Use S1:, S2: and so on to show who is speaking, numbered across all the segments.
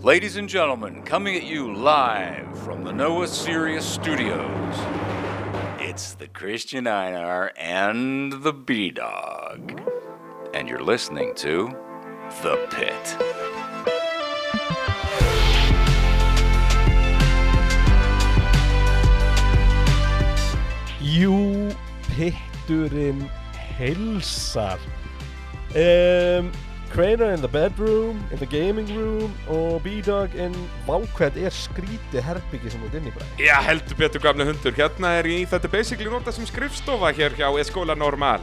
S1: Ladies and gentlemen, coming at you live from the Noah Sirius Studios, it's the Christian Einar and the B Dog. And you're listening to The Pit.
S2: Jú, pitturinn heilsar um, Crainer in the bedroom, in the gaming room og B-Dog in vákvæð er skríti herbyggi sem þú ert inn í bræði
S3: Já, heldur betur gamle hundur. Hérna er ég, þetta er basically nota sem skrifstofa hér hjá Escola Normal.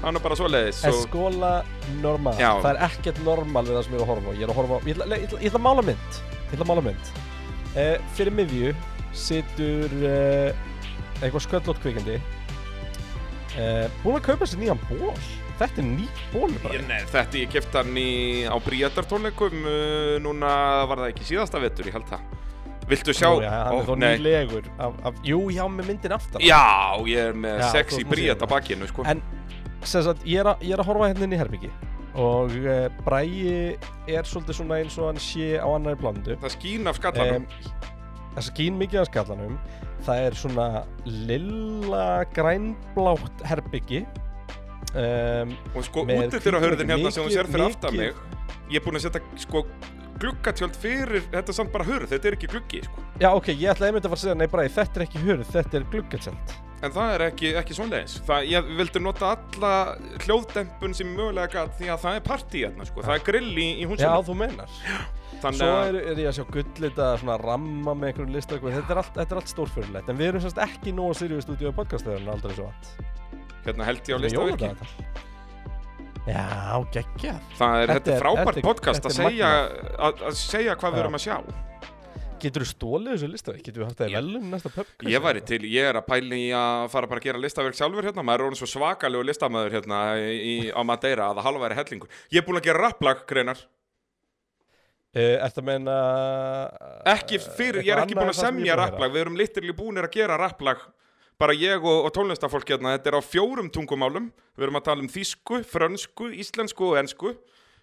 S3: Hann er bara svoleiðis.
S2: so, Escola normal,
S3: Já.
S2: það er ekkert normal við það sem ég er að horfa á Ég er að horfa á, ég ætla, ég ætla, ég ætla að mála mynd Ég ætla að mála mynd uh, Fyrir miðju situr uh, eitthvað sköllótt kvikindi uh, Búin að kaupa sér nýjan ból Þetta er nýtt ból bara
S3: Ég, nei, þetta ég kefti hann í, á Bríatartónleikum, uh, núna var það ekki síðasta vetur, ég held það. Viltu sjá?
S2: Nú, já, hann er
S3: Ó,
S2: þó
S3: nei.
S2: nýlegur af, af, Jú, já, með myndin aftar
S3: Já, ég er með
S2: Já, þú
S3: sexy
S2: ert með
S3: Bríat
S2: síðasta.
S3: á bakinu, sko.
S2: En sem sagt, ég, er að, ég er að horfa hérna inn í herbyggi Og uh, Bræi er svolítið svona eins og hann sé á annari blandu
S3: Það skín af skallanum.
S2: Það skín mikið að skallanum Það er svona lilla grænblátt herbyggi um,
S3: og sko,
S2: með
S3: útið þeirra hörðin hérna sem þú
S2: mikið-
S3: sér fyrir aftan
S2: mikið-
S3: mig, ég er búin að setja, sko, gluggatjöld fyrir, þetta er samt bara hörð, þetta er ekki gluggi, sko.
S2: Já, ok, ég ætla einmitt að fara að segja Nei, Bræi, þetta er ekki hurð, þetta er gluggatjöld
S3: En það er ekki, ekki svoleiðis. Það, ég vildi nota alla hljóðdempun sem ég mögulega gæt því að það er partí hérna, sko. Það er grill í, í
S2: Já,
S3: húsinu.
S2: þú meinar
S3: Þannig
S2: Svo
S3: að,
S2: er, er ég að sjá gullita svona ramma með einhverjum listakvöð þetta er allt, þetta er allt stórfyrirlegt en við erum semst ekki nóg að sirju stúdíu og podcastöðurinn aldrei svo vant
S3: hérna held ég á
S2: Sem er
S3: listavirki.
S2: jóladagatal. Já, geggjað
S3: Það er,
S2: Þetta
S3: þetta
S2: er-
S3: er frábært
S2: þetta er-
S3: podcast að
S2: þetta er
S3: segja, að, að segja hvað við
S2: Já.
S3: erum að sjá.
S2: Getur þú stólið þessu listaverk? Getur við haft það í
S3: Ég-
S2: velum næsta pub?
S3: Ég væri til, ég er að pæli í að fara bara að gera listaverk sjálfur hérna. Maður er orðin svo svakalegu listamöður hérna í, á Madeira að það halva er hellingur. Ég er búin að gera rapplag, greinar.
S2: Er þetta meina
S3: Ekki fyrir, ég er
S2: eitthvað
S3: ekki
S2: annað
S3: búin
S2: en
S3: að
S2: það sem ég er
S3: semja
S2: búinn að
S3: rapplag, við erum litirli búinir að gera rapplag bara ég og, og tónlistafólk hérna, þetta er á fjórum tungumálum við erum að tala um þýsku, frönsku, íslensku og ensku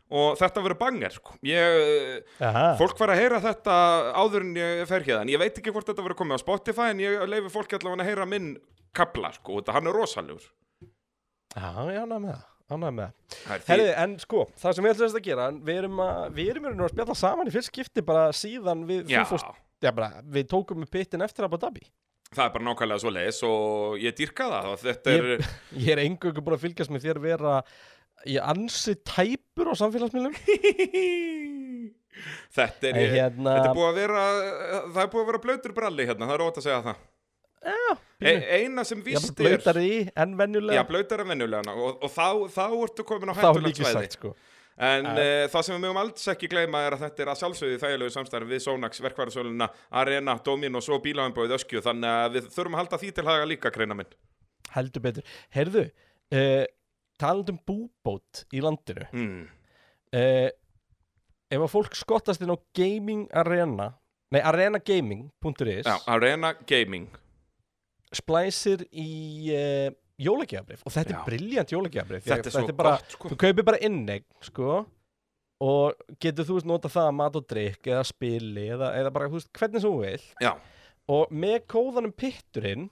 S3: og þetta verður banger sko. ég,
S2: heyra? Aha.
S3: fólk var að heyra þetta áður en ég fer hérna ég veit ekki hvort þetta verður komið á Spotify en ég leifi fólk allavega að heyra minn kabla sko, og þetta hann er rosalegur
S2: Já, ég ánægði með það, ánægði með það
S3: Það er því-
S2: Herriði, en sko, það sem ég ætla þess að gera en við erum að, við erum í raun og veru að spjalla saman í fyrst skipti bara síðan við þú
S3: Já,
S2: fórst- Já, bara, við tókum með pittin eftir Abu Dhabi
S3: það er bara nákvæmlega svo leiðis og ég dýrka það og þetta er,
S2: Ég- Ég er engöngu búin að fylgjast með þér vera í ansi tæpur á samfélagsmiðlum
S3: þetta er
S2: En hérna-
S3: þetta er búið að vera það er búið að vera blöytur bralli hérna, það er ótt að segja það e,
S2: pínu.
S3: eina sem
S2: Ég er
S3: víst er
S2: blöytar í en
S3: já,
S2: venjulega
S3: blöytar en venjulega og, og þá, þá ertu komin á
S2: Þá er
S3: hættulegt
S2: líkið
S3: svæði
S2: sagt sko
S3: en uh, það sem við mögum alls ekki gleyma er að þetta er að sjálfsögðu í þægilegu samstarf við Sónax, verkværasöluna, Arena, Dominos og bílaðanbóið Öskju, þannig að við þurfum að halda því til haga líka, greina minn
S2: Heldur betur Heyrðu, uh, talandum búbót í landinu
S3: mm.
S2: uh, Ef að fólk skottast inn á Gaming Arena Nei, arenagaming.is
S3: já, Arena Gaming
S2: Splæsir í uh, jólagjafabrif Og þetta
S3: Já.
S2: er briljant jólagjafabrif
S3: þetta er svo
S2: bara,
S3: gott sko.
S2: Þú kaupir bara innegn, sko Og getur þú veist nota það að mat og drikk Eða spili, eða, eða bara, þú veist, hvernig sem þú vilt
S3: já,
S2: Og með kóðanum pitturinn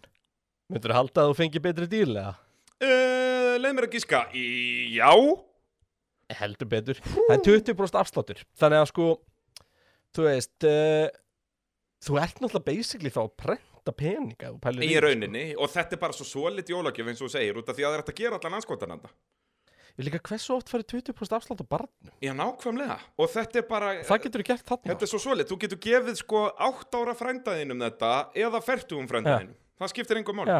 S2: Myndur þú halda að þú fengi betri dýrlega?
S3: Uh, leið mér að gíska Í- Já
S2: Heldur betur Það er 20% afsláttur Þannig að sko Þú veist uh, Þú ert náttúrulega basically þá að prenta peninga ef þú pælir
S3: Í
S2: því,
S3: rauninni Og þetta er bara svo svolit jólagjöf eins og þú segir Út af því að það er hægt að gera allan anskotananda
S2: sko. Ég líka hversu oft farið 20% afslátt á barnum
S3: Já, nákvæmlega Og þetta er bara
S2: Það getur þú gert þarna
S3: Þetta er svo svolit Þú getur gefið sko átt ára frændaðinum þetta Eða fertugum frændaðinum Það skiptir engum mál
S2: Já,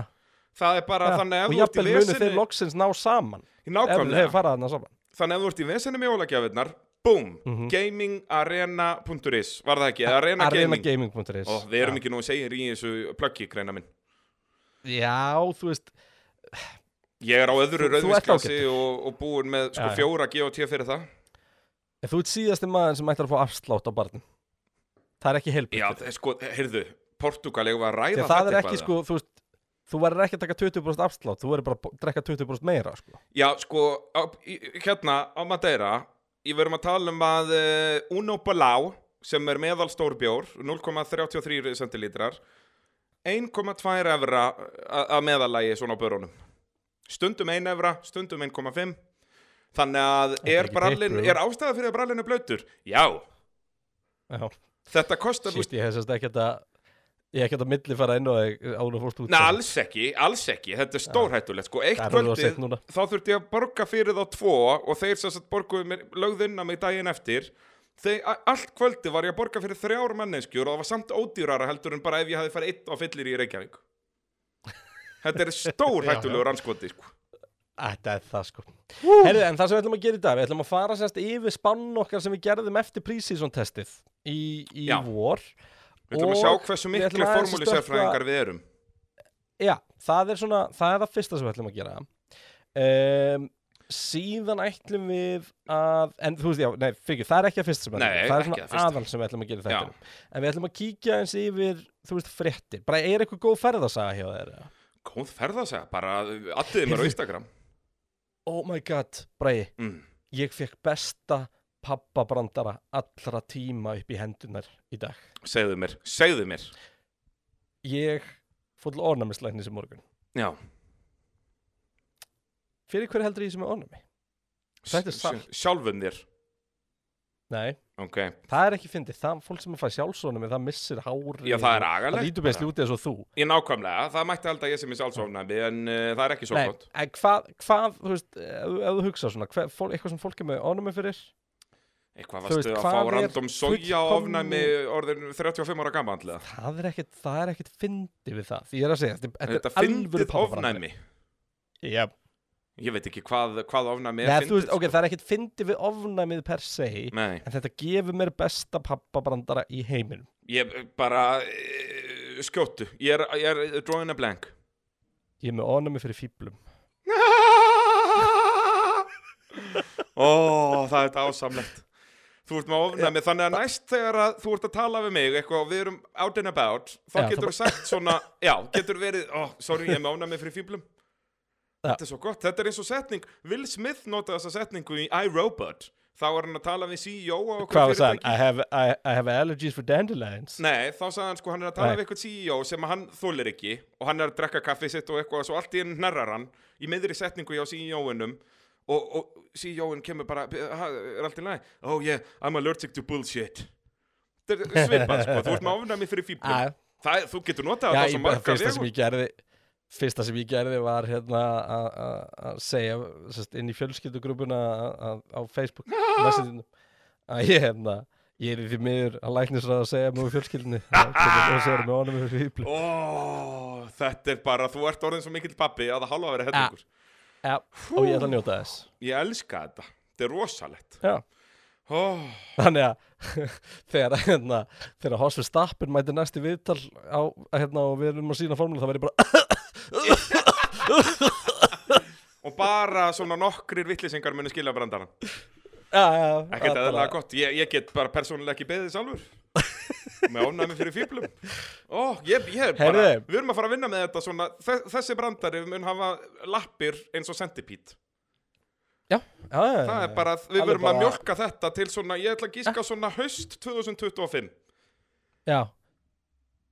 S3: Það er bara
S2: já.
S3: þannig
S2: Og
S3: að ef
S2: jafnvel
S3: þú ert í
S2: munu þeir
S3: vesinni
S2: loksins ná saman Ef þeir
S3: Nákvæmlega
S2: hefur farað þarna saman
S3: Þannig að ef þú ert í vesinni með jólagjöfinnar Búm
S2: Mhm.
S3: Gamingarena.is Var það ekki? Arena, Gaming
S2: Arenagaming.is
S3: Ó, Við erum ekki nú segir í þessu plöggi, greina minn
S2: Já, þú veist
S3: Ég er á öðru
S2: Þú- þú ert
S3: rauðvísklasi og, og búin með sko,
S2: Já, já.
S3: fjóra GOT fyrir það
S2: ef Þú ert síðasti maður sem ættir að fá afslátt á barnum Það er ekki
S3: Já,
S2: heilbætt
S3: það er sko, heyrðu, Portugal eigum við að
S2: Því
S3: ræða
S2: að það er ekki sko, þú veist Þú verður ekki að taka 20% afslátt, þú verður bara að drekka 20% meira sko.
S3: Já, sko, á, í, hérna á Madeira Ég verðum að tala um að uh, eh, Uno Balau sem er meðal stór bjór 0,33 centilítrar 1,2 evra a- að meðalægi svona á börunum stundum 1 evra, stundum 1,5 þannig að
S2: er
S3: er,
S2: ekki
S3: brallin,
S2: bleikur.
S3: er ástæða fyrir að brallin er blöytur? Já,
S2: Já,
S3: þetta kostar þú veist,
S2: síst, ég hef sérst ekkert að ég hef ekkert að milli fara inn og án og fórst út sko.
S3: Nei, alls ekki, alls ekki, þetta er stórhættulegt sko, eitt
S2: Það er alveg of seint
S3: kvöldið,
S2: núna.
S3: þá þurfti ég að borga fyrir þá tvo og þeir sem sagt borguðu mér lögðunna mig daginn eftir þeir, a- allt kvöldið var ég að borga fyrir þrjár manneskjur og það var samt ódýrara heldur en bara ef ég hafi farið eitt á fyllir í Reykjavík Þetta er stórhættulegur anskoti sko.
S2: Þetta er það sko Herðu, en það sem við ætlum að gera í dag Við ætlum að fara sérst yfir spann okkar sem við gerðum eftir prísísson testið í, í
S3: Já.
S2: vor
S3: Við ætlum að
S2: Og
S3: sjá hversu
S2: við ætlum
S3: miklu
S2: aðeins að
S3: formúli sérfræðingar við erum
S2: Já, það er svona, það er það fyrsta sem við ætlum að gera um, Síðan ætlum við að En þú veist, já, nei, fyrir, það er ekki að fyrsta sem við ætlum að
S3: Nei,
S2: gera Það er
S3: ekki
S2: svona
S3: það fyrsta.
S2: aðal sem við ætlum að gera
S3: Já.
S2: þetta En við ætlum að kíkja eins yfir, þú veist, fréttir Bara er eitthvað góð ferðasaga hjá þeir
S3: Góð ferð að segja, bara allir mér á
S2: Heyrðu.
S3: Instagram
S2: Oh my god, Bræði,
S3: mm.
S2: ég fekk besta pappabrandara allra tíma upp í hendunar í dag
S3: Segðu mér, segðu mér
S2: Ég fór til ornamislæknis í morgun
S3: Já,
S2: Fyrir hverju heldur ég sem er ornami? Þetta er satt.
S3: sjálfum þér
S2: Nei,
S3: Ok,
S2: það er ekki fyndið Það fólk sem er fæði sjálfsónum Það missir hári
S3: já það er
S2: Það
S3: agalegt
S2: lítur best út eins og þú
S3: Ég nákvæmlega, það mætti halda að ég sem er sjálfsofnæmi en uh, það er ekki svo
S2: Nei,
S3: gott
S2: en hvað, hvað, þú veist Ef þú- ef þú hugsa svona, hver, fól, eitthvað sem fólk er með ornami fyrir þú
S3: Eitthvað varstu
S2: veist,
S3: að
S2: hvað
S3: fá
S2: er
S3: random soja
S2: fullkomnu-
S3: ofnæmi orðin 35 ára gammal Þetta,
S2: Það er ekkit, það er ekkit fyndið við það Því ég er að segja, þetta, þetta,
S3: þetta
S2: er alvöru
S3: fyndið
S2: pappabrandari
S3: ofnæmi
S2: Já,
S3: Ég veit ekki hvað, hvað ofnæmi
S2: Nei,
S3: er
S2: þú veist,
S3: fyndið sko.
S2: ok, það er ekkit fyndið við ofnæmið per se
S3: Nei,
S2: En þetta gefur mér besta pappabrandara í heiminum
S3: ég bara uh, skjóttu, ég er, ég er drawing a blank
S2: Ég er með ornami fyrir fíblum
S3: Ó, það er þetta ásamlegt Þú ert með ofnæmi, þannig að næst þegar að þú ert að tala við mig eitthvað og við erum out and about þá
S2: Já,
S3: getur þú sagt svona, já, getur verið ó, sorry, ég er með ofnæmi fyrir fíblum
S2: Já.
S3: Þetta er svo gott, þetta er eins og setning Will Smith notaði þessa setningu í iRobot þá var hann að tala við CEO á okkur
S2: Hvað var það? I have, I, I have allergies for dandelions
S3: Nei, þá sagði hann sko, hann er að tala
S2: Nei.
S3: við eitthvað CEO sem að hann þólir ekki og hann er að drekka kaffið sitt og eitthvað og svo allt í enn hnerrar hann í miðri setningu hjá CEO-unum og, og CEO-un kemur bara, "Ha, er allt í lagi? Oh yeah, I'm allergic to bullshit. Þetta er Svipað sko, þú ert með ofnæmi fyrir
S2: Já,
S3: fíblum. Það, þú getur notað
S2: Ah. já, ég
S3: þetta á svo
S2: bara
S3: marga
S2: fyrsta sem
S3: vegur.
S2: ég gerði Fyrsta sem ég gerði var hérna að- að- að segja sest, inn í fjölskyldugrúpuna að- að- á Facebook Messengerinu, að ég hérna ég er í því miður að læknisra að segja mjög fjölskyldinni og segja með honum fyrir fíblum
S3: Ó, þetta er bara, þú ert orðin svo mikill pappi að það hálfa
S2: Ah.
S3: að vera hellingur.
S2: ja, og ég ætla að njóta þess
S3: Ég elska þetta, þetta er rosalegt.
S2: já.
S3: Ó,
S2: þannig að þegar hérna, þegar Hossfjörn Stappin mæti næsti viðtal á, hérna, og við erum að sína formúlu þá verður ég bara
S3: og bara svona nokkrir vittlisingar muni skilja brandarann.
S2: já, já, já,
S3: Ekkert
S2: bara-
S3: eðlilega gott, ég, ég get bara persónulega ekki beðið sjálfur með ofnæmi fyrir fýblum Ó, ég, ég er bara,
S2: Heyrðu.
S3: við erum að fara að vinna með þetta svona, þe- þessi brandari mun hafa lappir eins og centipít
S2: já, já, já, já,
S3: það
S2: já.
S3: er bara, við
S2: Eh, Alveg
S3: verum að
S2: bara-
S3: mjölka þetta til svona, ég ætla að gíska svona haust 2025
S2: já.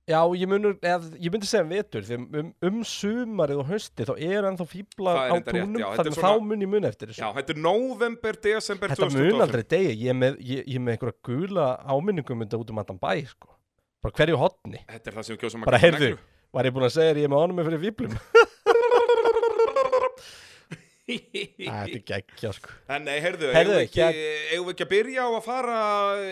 S2: já, ég munur eð, ég myndi segja vetur því um, um, um sumarið og hausti þá eru ennþá fíbla
S3: Það er
S2: á
S3: reyndar rétt,
S2: túnum
S3: já, þetta er
S2: þannig
S3: svona-
S2: að þá mun ég mun eftir
S3: Já,
S2: þessu
S3: þetta er november, desember
S2: þetta mun
S3: 2025
S2: aldrei degi, ég er með, ég, ég er með einhverja gula áminningum mynda út um andan bæ sko. bara hverju hotni
S3: Þetta er það sem við kjósum að
S2: bara
S3: kalla
S2: heyrðu,
S3: neglu.
S2: var ég búin að segja þér, ég er með honum fyrir fíblum Æ, þetta er geggja sko
S3: En nei, heyrðu,
S2: Heyrðu,
S3: eigum við ekki, eigum við ekki að byrja á að fara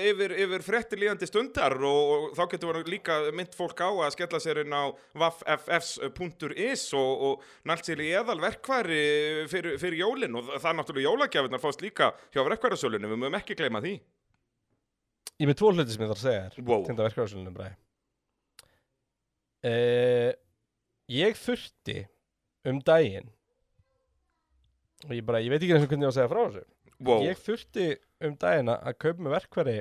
S3: yfir, yfir fréttir líðandi stundar og, og þá getur við líka mynd fólk á að skella sér inn á vaffs.is og, og nælt sér í eðal verkværi fyrir, fyrir jólin og það er náttúrulega jólagjafinnar fást líka hjá verkværasölunni, við mögum ekki gleyma því.
S2: Ég er með tvo hluti sem ég þarf að segja þér
S3: Wow.
S2: Tinda verkefæðarsölunum bræði uh, Ég þurfti um daginn og ég bara, ég veit ekki eins og hvernig ég á að segja frá þessu
S3: Wow.
S2: Ég þurfti um daginn að- að kaupa með verkfæri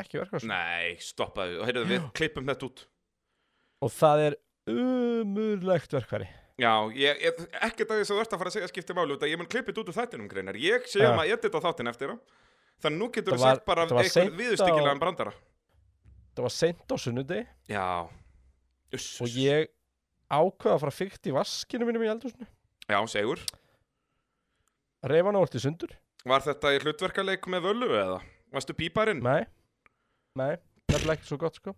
S2: ekki verkefæðarsölunum
S3: Nei, stoppaðu, heyrðu, við klippum þetta út.
S2: og það er umurlegt verkfæri
S3: Já, ég, ég, ekkert að þess að þú ert að fara að segja skipti máli út að ég mun klippið þetta út úr þættinum greinar. Ég sé um
S2: Já.
S3: að edita þáttin eftir á. Þannig nú getur
S2: Það
S3: við
S2: var-
S3: sagt bara
S2: það var
S3: einhvern
S2: seint á-
S3: viðustykilegan brandara.
S2: þetta var seint á sunnudegi
S3: Já Uss,
S2: og ég ákvaða að fara fyrkt í vaskinu mínum í eldhúsinu
S3: Já, segur
S2: reyfa hana orðið sundur
S3: Var þetta í hlutverkaleik með völu eða? Varstu píparinn?
S2: nei, nei, nefnilega ekki svo gott sko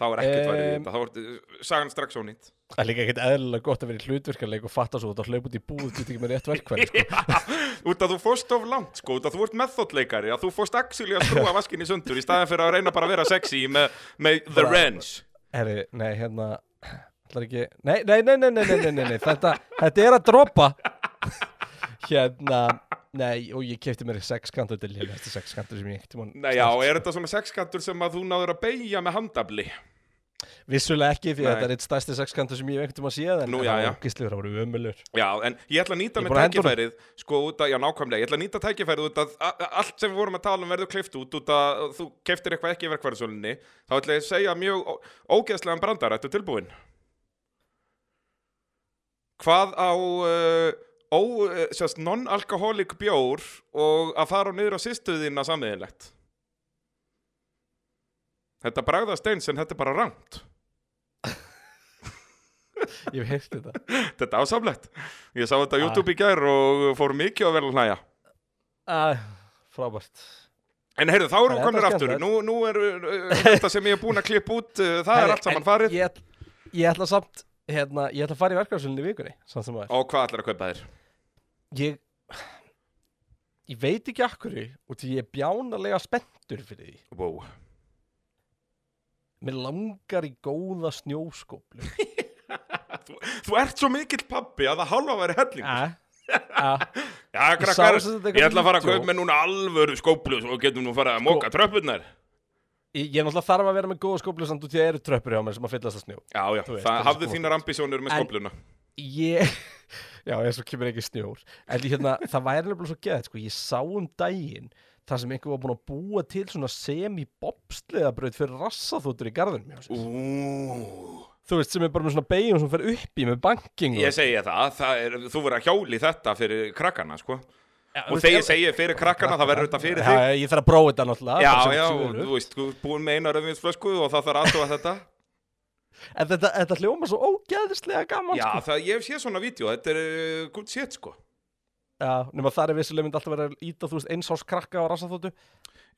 S3: Þá er ekkert værið í
S2: Em.
S3: þetta Þá var sagan strax ónýtt
S2: það er líka ekkert eðlilega gott að vera í hlutverkarleik og fatta svo þetta hlaup út í búð þetta ekki með rétt verkværi sko.
S3: Út að þú fórst of langt sko Út að þú ert methodleikari Að þú fórst axili að skrúa vaskinni sundur Í staðin fyrir að reyna bara að vera sexy með, með the
S2: Bara-
S3: wrench
S2: Herri, nei, hérna ætlar ekki, nei, nei, nei, nei, nei, nei, nei, nei, nei. Þetta, þetta er að droppa hérna nei, og ég kefti mér sexkantur til hérna, þetta er sexkantur sem ég ekkert
S3: Nei já, er þetta svona sexkantur sem að þú náður að beigja með handafli?
S2: vissulega ekki, því
S3: Nei.
S2: að þetta er eitt stærsti sexkantur sem ég ekkert um að séð, en
S3: Nú, já,
S2: það
S3: já.
S2: var ógislegur, það var ömulur
S3: Já, en ég ætla að nýta
S2: Ég er
S3: með
S2: búin að henda honum.
S3: tækifærið sko út að, já nákvæmlega, ég ætla að nýta tækifærið út að a- a- allt sem við vorum að tala um verður kleift út út að þú keiftir eitthvað ekki í verkværisölunni þá ætla ég að segja mjög ó- ógeðslegan brandara, þetta er tilbúin Hvað á uh, ó, uh, sérst, non-alkoholik bjór og að fara á niður á sýstuðina samiðinlegt Þetta bragðast eins en þetta er bara rangt
S2: ég hef heyrt þetta
S3: Þetta er ásamlegt Ég sá þetta á
S2: Ah.
S3: YouTube í gær og fór mikið að vera að hlæja
S2: Æ, frábært
S3: En heyrðu, þá erum
S2: Nei,
S3: við
S2: þetta
S3: komnir
S2: var
S3: aftur
S2: skemmtilegt.
S3: Nú, nú er uh, þetta sem ég er búin að klippa út uh, Það er
S2: Herri,
S3: allt saman
S2: en
S3: farið
S2: Ég, ætl- ég ætla samt, hérna, ég ætla að fara í verkefnarsunni í vikunni, samt sem aðeins
S3: Og hvað ætlar að kaupa þér?
S2: Ég, ég veit ekki akkur og því ég er bjánarlega spenntur fyrir því
S3: Wow.
S2: Mér langar í góða snjóskóplu
S3: Þú, þú ert svo mikill pappi að það halva væri helling
S2: Æ, æ, ég
S3: Já,
S2: sá
S3: krakkar,
S2: sem sagt
S3: ég
S2: eitthvað
S3: ætla að fara að
S2: vídeó.
S3: kaupa mér núna alvöru skóplu Svo getum nú farið að móka
S2: Sko-
S3: tröppurnar
S2: Ég ég er náttúrulega þarf að vera með góða skóplu samt út því að það eru tröppur hjá mér sem að fyllast að snjó
S3: Já, já,
S2: Þú veist,
S3: það
S2: það er
S3: hafðu
S2: sko-
S3: þínar ambisjónur með
S2: En-
S3: skópluna
S2: Ég, já, eins og kemur ekki snjór En ég, hérna, það væri nefnilega svo geðið, sko Ég sá um daginn þar sem einhver var búin að búa til svona semi-bobsleðabraut fyrir rassaþóttur í garðinum hjá sér.
S3: Ú,
S2: þú veist, sem er bara með svona beigjum sem fer upp í með banking
S3: Ég segi það, það er, þú verður að hjóli þetta fyrir krakkana, sko
S2: ja,
S3: Og þegar ég segi fyrir krakkana, það verður þetta fyrir þig
S2: Já, ég þarf að prófa þetta náttúrulega
S3: Já,
S2: bara sem-
S3: já,
S2: sem
S3: og
S2: vöru.
S3: þú veist, þú ert búin með eina röðvinsflösku og það þarf aðtóa þetta
S2: En þetta, þetta hljóma svo ógeðislega gaman
S3: Já,
S2: sko.
S3: það, ég sé svona vídeo, þetta er uh, good shit sko
S2: já Nefnum að það er vissulega myndi alltaf vera að íta, þú veist, eins ás krakka á rassaþóttu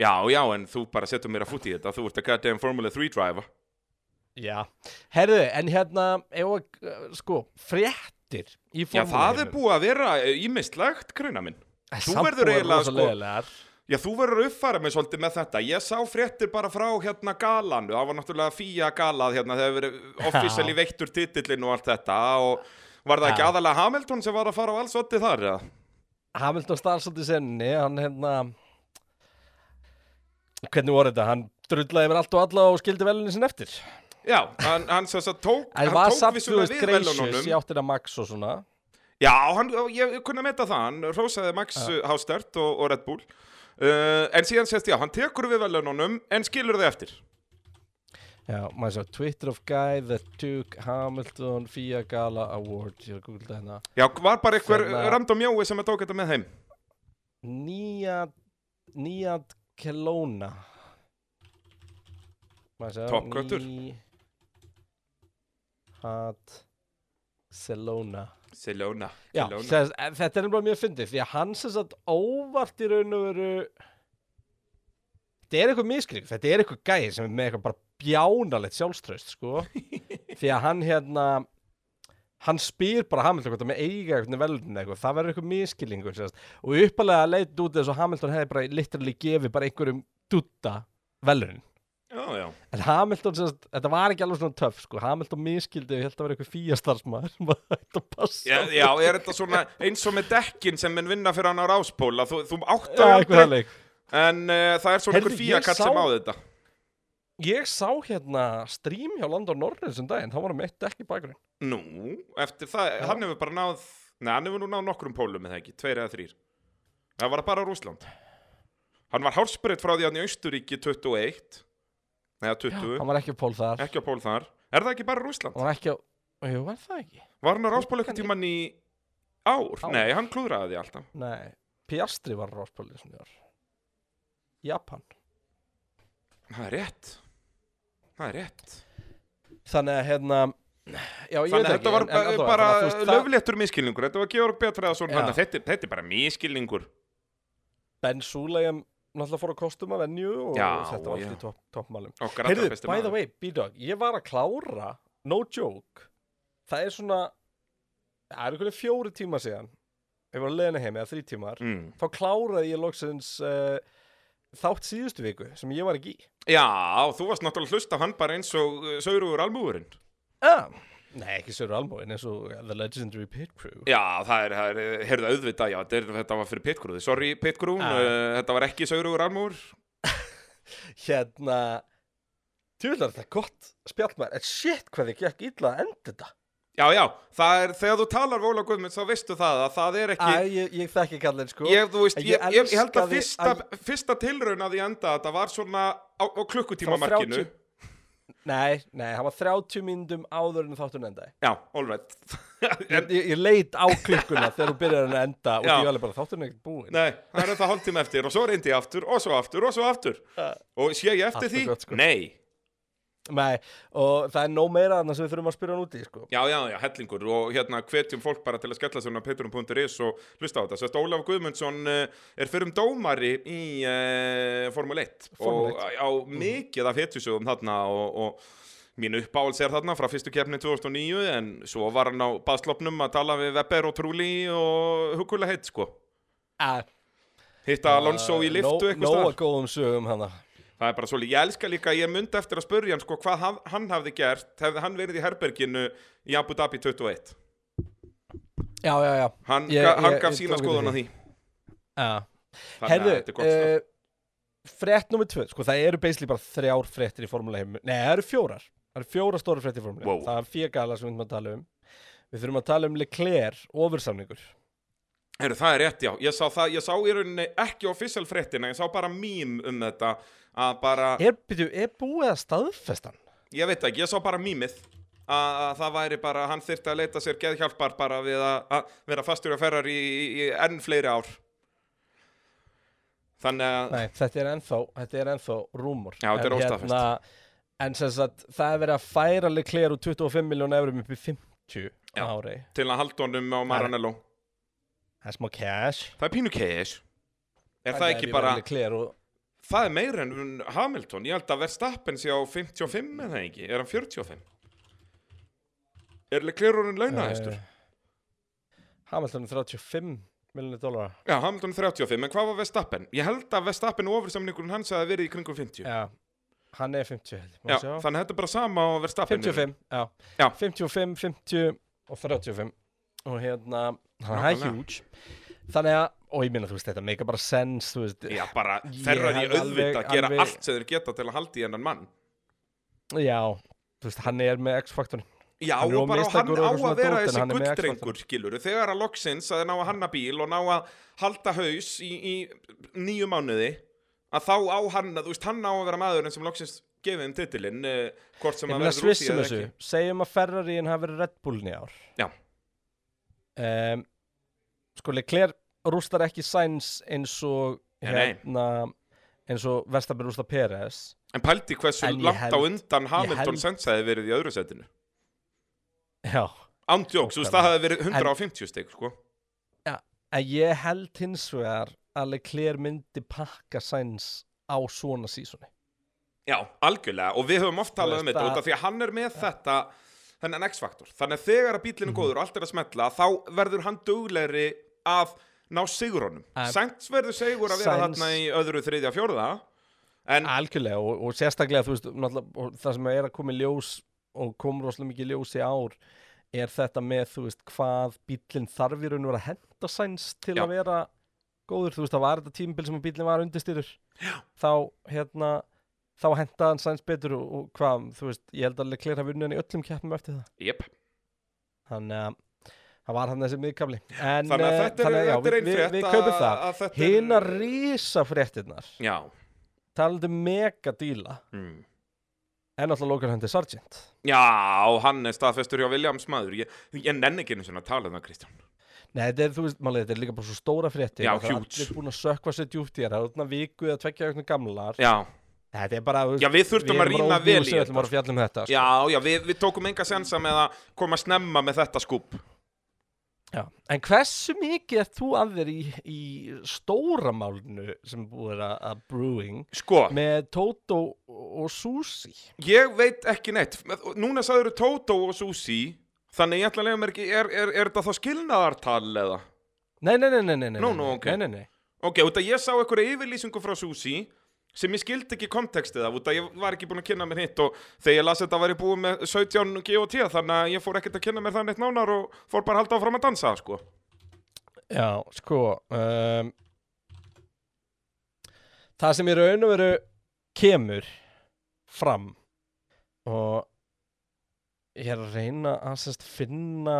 S3: Já, já, en þú bara setur mér að fút í þetta, þú ert að goddamn Formula 3 driver
S2: Já Herðu, en hérna, eða, sko, fréttir í
S3: Já, það er
S2: formúluheiminum.
S3: búið að vera uh, ímistlegt, greina minn
S2: En
S3: Þú
S2: samt
S3: verður
S2: voru
S3: eiginlega,
S2: rosa
S3: sko-
S2: leiðilegar.
S3: Já, þú verður að uppfæra mig svolítið með þetta Ég sá fréttir bara frá hérna galan Það var náttúrulega fía galað hérna Það hefur verið offisali veittur titillin og allt þetta Og var það ekki
S2: Já.
S3: aðalega Hamilton sem var að fara á alls otti þar eða?
S2: Hamilton Starsald í senni hann hérna hvernig voru þetta, hann drullaði mér allt og alla og skildi velunin sinni eftir
S3: Já, hann, hann sem sagt tók
S2: en
S3: hann
S2: var
S3: tók
S2: samt, þú
S3: vissulega
S2: veist,
S3: við
S2: gracious
S3: verðlaununum.
S2: í áttina Max og svona
S3: Já, hann, ég kunna meta það, hann rósaði Max ja. Hástert og, og Red Bull uh, En síðan sést já, hann tekur við velununum en skilur þau eftir
S2: já, maður svo, Twitter of guy that took Hamilton FIA Gala Award ég er að googla hérna
S3: Já, var bara einhver
S2: Þannig að-
S3: random jói sem að tók þetta með heim
S2: Nýja Nýja Kelowna maður svo
S3: Toppköttur.
S2: Hat Selona
S3: Selona,
S2: Já, þess, þetta er bara mjög fyndið því að hann sem sagt óvart í raun og veru þetta er eitthvað miskrik þetta er eitthvað gæði sem er með eitthvað bara bjánalegt sjálfströst sko því að hann hérna hann spyr bara Hamilton hvort að með eiga eitthvað velun eitthvað, það verður eitthvað miskilingur sérst. og uppalega leit út þess að Hamilton hefði bara literally gefið bara einhverjum dutta velun
S3: já, já
S2: En Hamilton, sem, sagt- þetta var ekki alveg svona töff sko. Hamilton miskildi, ég held að vera eitthvað fíastarfsmaður sem var hægt að passa
S3: Já, já, er þetta svona eins og með dekkin sem menn vinna fyrir hann á ráspóla Þú, þú
S2: Já,
S3: áttar
S2: eitthvað þannig.
S3: En uh, það er svona
S2: Heyrðu,
S3: einhver
S2: ég
S3: fíakall
S2: sá-
S3: sem á þetta
S2: Ég sá hérna stream hjá Landon Norris um daginn, það var með eitt ekki bakgrunn.
S3: Nú, eftir það, hann hefur bara náð Nei, hann hefur nú náð nokkrum pólum eða ekki, tveir eða þrýr Það var bara Rúsland Hann var hálsbreytt frá því hann í Austuríki 21 Nei, 20,
S2: Hann var ekki á pól þar,
S3: ekki á pól þar Er það ekki bara Rúsland?
S2: hann var ekki á, jú, var það ekki?
S3: Var hann á ráspól eitthvað tíman í ár?
S2: Ár.
S3: Nei, hann klúðraði því alltaf
S2: Nei, Piastri var ráspólið sem ég var. Japan.
S3: Það er rétt það er rétt
S2: þannig að hérna já, ég veit
S3: Þannig
S2: ekki,
S3: að þetta var
S2: en- en
S3: ba-
S2: allavega,
S3: bara
S2: þannig að, þú veist, það-
S3: löfléttur miskilningur Þetta var Georg Bjartfræðarsson
S2: Já.
S3: þarna. þetta, er- þetta er bara miskilningur
S2: Ben Sulayem náttúrulega fór að kostum að venju og
S3: Já,
S2: þetta var
S3: já.
S2: allt í topp- toppmálum
S3: Okkar allra
S2: Heyrðu,
S3: besti
S2: by the
S3: maður.
S2: way, B-Dog, ég var að klára no joke, það er svona það er einhverju fjóri tímar síðan ég var að leina heim eða þrý tímar
S3: mm.
S2: þá kláraði ég loksins uh, þátt síðustu viku sem ég var ekki í
S3: Já, þú varst náttúrulega að hlusta á hann bara eins og uh, Saurugur almúurinn
S2: ah. Nei, ekki Sörur Almóin eins og uh, The Legendary Pit Crew
S3: Já, það er, það er heyrðu auðvitað, já, þetta, er, þetta var fyrir pitgrúði Sorry pitgrún,
S2: Já.
S3: uh, þetta var ekki Saurugur almúur
S2: Hérna Tjóðlar þetta er gott spjallmær En shit hvað þið gekk illa að enda þetta
S3: Já, já, það er, þegar þú talar við Óla Guðmunds þá veistu það að það er
S2: Æ,
S3: ekki
S2: ég, ég þekki kallinn sko
S3: Ég, þú veist,
S2: En
S3: ég, ég, ég held að
S2: elskaði
S3: fyrsta, fyrsta tilraun að ég enda þetta var svona á, á klukkutíma
S2: Frá
S3: markinu
S2: 30. Nei, nei, hann var 30 myndum áður en þáttun endaði
S3: Já, all right en,
S2: Ég, ég, ég leit á klukkuna þegar þú byrjar hann að enda Og
S3: Já.
S2: því ég alveg bara þáttun er ekkert búin
S3: Nei, það er þetta hálftíma eftir og svo reyndi ég aftur og svo aftur og svo aftur
S2: Ja.
S3: Og sé ég eftir
S2: Allt er
S3: því?
S2: gott, sko.
S3: Nei
S2: Nei, og það er nóg meira þarna sem við þurfum að spyrja hann út í sko
S3: Já, já, já, hellingur og hérna hvetjum fólk bara til að skella sér á petrum.is og hlusta á þetta Sérst, Ólaf Guðmundsson eh, er fyrir um dómari í uh, Formule 1
S2: Formule
S3: og eh, á mikið af hetjusögum þarna og, og mín uppáhals er þarna frá fyrstu keppni 2009 en svo var hann á baðslopnum að tala við Webber og Trúli og hugulega heitt sko
S2: Að
S3: Hitta Alonso í liftu eitthvað
S2: Nóa
S3: staðar.
S2: góðum sögum hana
S3: Það er bara svolítið, ég elska líka, ég myndi eftir að spurja hann sko hvað haf, hann hafði gert, hefði hann verið í herberginu í Abu Dhabi 21.
S2: Já, já, já
S3: Hann,
S2: Ég-
S3: ga, hann
S2: ég-
S3: gaf
S2: ég tók
S3: sína
S2: eftir
S3: skoðun á því.
S2: Já
S3: Þannig að
S2: Herðu, eh,
S3: þetta er gott uh,
S2: frett nummer tvö, sko það eru basically bara þrjár frettir í formuleheim, nei það eru fjórar það eru fjórar stóra frettir í formuleheim
S1: Wow.
S2: það er fjögala sem við þurfum að tala um við þurfum að tala um Leclerc ofursamningur
S3: Herru, það er rétt, já. Ég sá það, ég sá í rauninni ekki official fréttina, ég sá bara mím um þetta, að bara,
S2: er, byrju, er búið að staðfestan?
S3: ég veit ekki, ég sá bara mímið, að, að það væri bara, hann þyrfti að leita sér geðhjálpar bara við að, að vera fastur að ferrar í, í, í enn fleiri ár. Þannig að,
S2: Nei, þetta er ennþá, þetta er ennþá rúmur hérna-
S3: Já, þetta er óstaðfest.
S2: en sem sagt, það er verið að færa Leclerc úr 25 miljón eurum upp í 50
S3: Já.
S2: ári
S3: til að halda honum á Maranello.
S2: það er smá cash
S3: Það er pínu keis. Er það
S2: Þannig að
S3: ekki
S2: ef ég
S3: bara,
S2: væri Leclerc og,
S3: það er meira en Hamilton, ég held að Verstappen sé á 55 eða ekki, er hann 45? Er Leclerurinn
S2: Eh.
S3: launahæstur?
S2: Hamilton er 35 miljónir dólara
S3: Já, Hamilton er 35, en hvað var Verstappen? Ég held að Verstappen og ofursamningurinn hans hafi verið í kringum 50
S2: Já, hann er 50 held ég, má
S3: Já,
S2: sjá.
S3: þannig að þetta er bara sama á Verstappen
S2: 55, já.
S3: Já.
S2: 55, 50 og 35 og hérna, hann er
S3: Nákvæmlega.
S2: huge þannig að, og ég minna þú veist þetta make bara sense, þú veist
S3: Já, bara
S2: Ég
S3: ferrar í
S2: held
S3: auðvita
S2: alveg-
S3: að gera
S2: alveg-
S3: allt sem þeir geta til að halda í hennan mann
S2: já, þú veist, hann er með X-faktorin
S3: Já,
S2: Hann er
S3: og
S2: of
S3: bara og hann
S2: mistækur og
S3: á
S2: eitthvað svona
S3: að vera
S2: dót, en
S3: þessi
S2: hann er með
S3: gulldrengur skilur Þegar að loksins að þeir ná að hanna bíl og ná að halda haus í, í nýju mánuði að þá á hann, þú veist, hann á að vera maðurinn sem loksins gefið þeim titilinn uh, hvort sem
S2: ég
S3: að
S2: minna
S3: verður úr
S2: svissum
S3: eða
S2: þessu,
S3: ekki
S2: segjum að Ferrarín hafi verið Red Bullin í ár
S3: Já.
S2: um, sko, Leclerc rústar ekki Sainz eins og
S3: Nei, nei.
S2: hérna eins og Verstappen rústar Peres
S3: En pældi hversu
S2: En ég
S3: langt á
S2: held-
S3: undan Hamilton
S2: held-
S3: sensaði verið í öðru setinu
S2: já,
S3: Andjóks, þú veist, það hefði verið 150 stygg, sko.
S2: að ég held hins vegar að Leclerc myndi pakka Sainz á svona sísoni
S3: Já, algjörlega, og við höfum oft talað um
S2: veist
S3: þetta,
S2: að-
S3: út af því að hann er með þetta, þennan X-faktor. Þannig að þegar að
S2: Mhm.
S3: bílinn er góður og allt er að smetla, þá verður hann duglegri að ná sigurunum.
S2: Að-
S3: Sainz verður sigur að
S2: Sainz-
S3: vera
S2: Ah,
S3: þarna í öðru, þriðja, fjórða, en
S2: algjörlega og, og sérstaklega þú veist náttúrulega, og það sem er að koma í ljós og kom rosalega mikið í ljós í ár er þetta með þú veist hvað bílinn þarf í raun og vera að henda Sainz til
S3: Já.
S2: að vera góður þú veist það var þetta tímabil sem að bílinn var undirstyrur Já. þá hérna þá hendaði hann Sainz betur og, og hvað þú veist ég held að Leclerc hafi unnið hann í öllum keppnum eftir það
S3: jöp.
S2: þannig að það var hann þessi miðkafli en,
S3: Þannig að
S2: eh,
S3: þetta er,
S2: þannig að já,
S3: þetta er
S2: við-
S3: einn
S2: við-
S3: frétt
S2: við
S3: að-
S2: kaupum það
S3: að þetta er-
S2: hina risafréttinnar
S3: Já,
S2: talandi mega díla
S3: mm.
S2: en alltaf lókar hendi Sargent
S3: já, og hann er staðfestur hjá Williams maður. Ég, ég nenni ekki einu svona að tala um það, Kristján.
S2: Nei, þetta er, þú veist, maður, þetta er líka bara svo stóra fréttir
S3: Já,
S2: og það er
S3: huge.
S2: allir búin að sökva sér djúpt í þér það er þarna viku eða tveggja ögnu gamlar
S3: Já,
S2: Þetta er bara þú veist,
S3: Já, við þurftum
S2: erum
S3: að
S2: bara
S3: rýna
S2: óhugulsöm,
S3: vel í
S2: Við
S3: þetta,
S2: ætlum bara að fjalla um þetta sko.
S3: Já, já, við, við tókum enga sensa með að koma snemma með þetta skúb
S2: Já. En hversu mikið er þú að þér í, í stóra málinu sem búið er að, að brewing
S3: Sko,
S2: með Toto og Susi?
S3: ég veit ekki neitt Núna sagður Tótó og Susi Þannig ég ætla að lega mér ekki Er, er, er þetta þá skilnaðartal eða?
S2: Nei, nei, nei, nei, nei, nei,
S3: Nú,
S2: nei,
S3: nú, ok.
S2: nei, nei, nei.
S3: Ok, út að ég sá einhverja yfirlýsingu frá Susi sem ég skildi ekki kontekstið af út að ég var ekki búinn að kynna mér hitt og þegar ég las þetta var ég búinn með 17 GOT þannig að ég fór ekkert að kynna mér það neitt nánar og fór bara að halda áfram að dansa sko.
S2: Já, sko um, Það sem í raun og veru kemur fram og ég er að reyna að sérst finna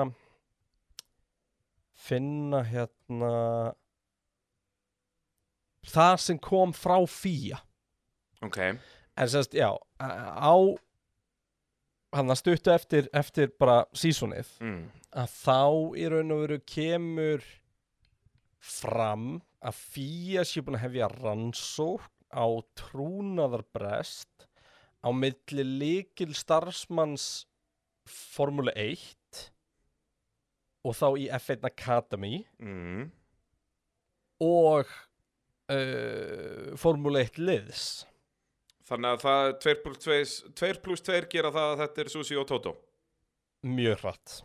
S2: finna hérna það sem kom frá fía
S3: Ok,
S2: en sérst, já, á hann að stuttu eftir, eftir bara sísonið
S3: mm.
S2: að þá í raun og veru kemur fram að fýja sé búin að hefja rannsók á trúnaðarbrest á milli líkil starfsmanns Formule 1 og þá í F1 Academy
S3: Mm.
S2: og uh, Formule 1 liðs
S3: þannig að það 2 plus 2, 2 plus 2 gera það að þetta er Susi og Tótó
S2: mjög hratt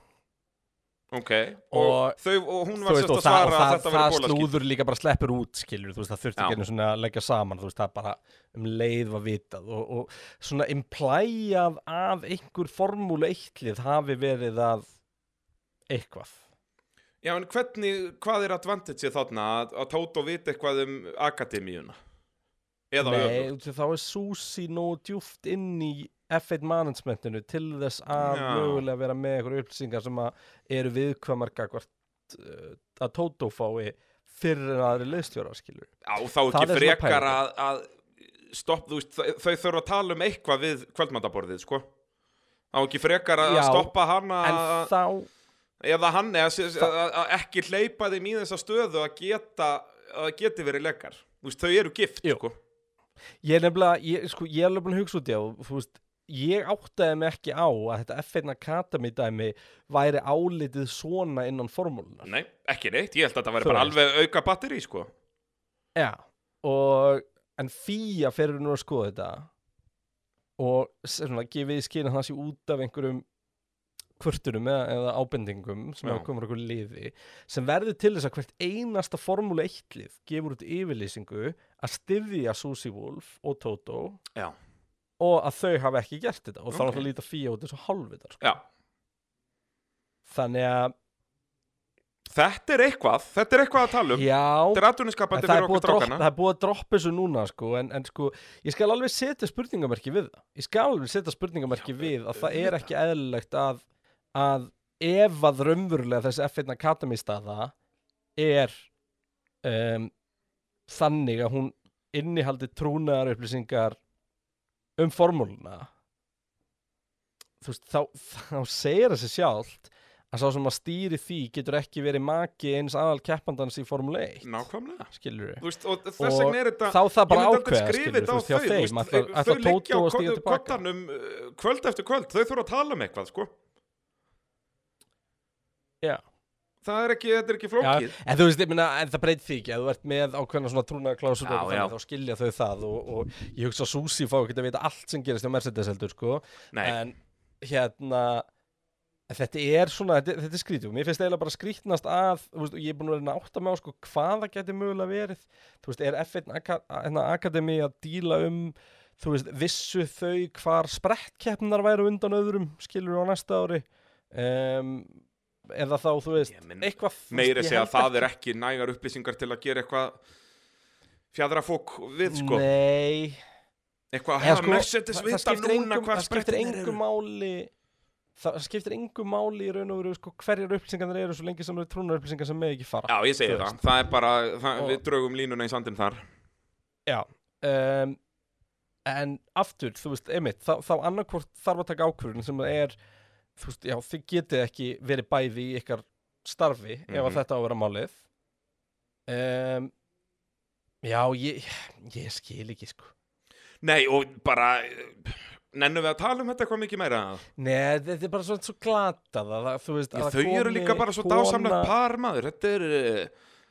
S3: Ok, og,
S2: Og-
S3: þau, og hún
S2: Þú
S3: var
S2: veist,
S3: sérst
S2: og
S3: að
S2: það,
S3: svara
S2: og
S3: að
S2: það,
S3: þetta
S2: það
S3: verið bólaskýt
S2: slúður líka bara sleppur út skilur, þú veist, það þurfti
S3: Já.
S2: ekki einu svona að leggja saman, þú veist, það bara um leið var vitað og, og svona implæjað af einhver formúlu eittlið hafi verið að eitthvað.
S3: Já, en hvernig, hvað er advantageið þarna að, að Tótó viti eitthvað um akademíuna? Eða
S2: Nei,
S3: öfugt?
S2: þú veist, þá er Susi nú djúft inn í F1 managementinu til þess að
S3: Já.
S2: mögulega vera með einhverju upplýsingar sem að eru viðkvæmar gagvart uh, að Tótó fái fyrir en aðri leiðstjóra skilur.
S3: Já, og þá
S2: Það
S3: ekki
S2: er svona
S3: frekar
S2: pæling.
S3: að, að stopp, þú veist, þau, þau þurfa að tala um eitthvað við kvöldmandaborðið, sko Þá ekki frekar að
S2: Já,
S3: stoppa hana
S2: En þá...
S3: eða hann eða s- að, að ekki hleypa þeim í þessa stöðu að geta að geti verið leikar Þú veist, þau eru gift,
S2: Jú.
S3: sko
S2: Ég er nefnilega, ég, sko, ég er alveg búin að hugsa út í það og þú veist, ég áttaði mig ekki á að þetta F1 Academy dæmi væri álitið svona innan formúlunar.
S3: Nei, ekki neitt, ég held að þetta væri
S2: Þú
S3: bara
S2: veist.
S3: alveg auka batteri, sko
S2: Já. Og, en FIA ferur nú að skoða þetta og s- svona, gefið í skinn að það sé út af einhverjum kvörtunum eða, eða ábendingum sem
S3: Já.
S2: hafa komið okkur liði sem verður til þess að hvert einasta formúlu 1 lið gefur út yfirlýsingu að styðja Susie Wolf og Toto
S3: Já,
S2: og að þau hafa ekki gert þetta og þá
S3: Ok.
S2: er það að líta fíja út eins og halvvitar sko.
S3: já
S2: þannig að,
S3: Þetta er eitthvað, þetta er eitthvað að tala um Þetta
S2: já
S3: er
S2: en
S3: atvinniskapandi
S2: það er,
S3: fyrir
S2: búið að
S3: okkur
S2: droppa,
S3: strákana
S2: það er búið að droppa þessu núna sko, en, en sko, ég skal alveg setja spurningamerki við það, ég skal alveg setja spurningamerki við að það er ekki eðlilegt að, að ef að raunverulega þessi F1 Academy staða er um, þannig að hún innihaldi trúnaðar upplýsingar um formúluna þú veist, þá, þá segir þessi sjálft að sá sem að stýri því getur ekki verið maki eins aðal keppandans í Formule 1
S3: Nákvæmlega
S2: skilur
S3: Þú veist, og þess
S2: og
S3: vegna er þetta
S2: þá það bara
S3: Ég myndi
S2: ákveða
S3: aldrei skrifa
S2: skilur,
S3: þetta
S2: þú
S3: á
S2: veist, hjá
S3: þú
S2: þeim
S3: veist,
S2: ætla ætla
S3: þau liggja
S2: Tóto
S3: á
S2: að stíga tilbaka
S3: kottanum uh, kvöld eftir kvöld, þau þurfa að tala um eitthvað sko.
S2: Já.
S3: það er ekki, þetta er ekki
S2: Já,
S3: flókið
S2: en þú veist, ég minna, en það breytir því ekki að þú ert með ákveðna svona trúnaðarklásur
S3: Já,
S2: og
S3: já.
S2: þannig þá skilja þau það og, og ég hugsa að Susi fá ekki að vita allt sem gerist hjá Mercedes heldur, sko
S3: nei,
S2: en hérna en þetta er svona, þetta, þetta er skrítið og mér finnst eiginlega bara skrítnast að þú veist, og ég er búin að vera að átta mig á sko, hvað það geti mögulega verið þú veist, er F1 Aka- hérna, Academy að díla um þú veist, vissu þau hvar sprettkeppnar væru undan öðrum skilur á næsta ári um, eða þá, þú veist
S3: Ég minn-
S2: eitthvað, þú veist,
S3: meiri
S2: ég
S3: segja
S2: held
S3: að það er ekki nægar upplýsingar til að gera eitthvað fjadra fólk við sko.
S2: Nei,
S3: eitthvað að
S2: Eða
S3: hafa
S2: sko,
S3: Mercedes
S2: það
S3: vita
S2: skiptir
S3: núna
S2: engum-
S3: hvað
S2: það skiptir
S3: sprettinir
S2: engu
S3: eru
S2: máli það það skiptir engu máli í raun og veru sko, hverjar upplýsingarnir eru svo lengi sem eru trúnar upplýsingar sem með ekki fara
S3: já, ég segi
S2: Þú
S3: það, það er bara það,
S2: Og-
S3: við draugum línuna í sandin þar
S2: um, en aftur, þú veist, einmitt þá, þá annarkvort þarf að taka ákvörðun sem er, þú veist, já, þið getið ekki verið bæði í ykkar starfi ef
S3: Mhm.
S2: að þetta á að vera málið um, já, ég ég skil ekki, sko
S3: Nei, og bara eh, Nennum við að tala um þetta eitthvað mikið meira
S2: Nei, þetta er bara svona svo glatað að, það- þú veist,
S3: Já,
S2: að
S3: Þau eru líka bara svo dásamlegt par maður Þetta er, eh,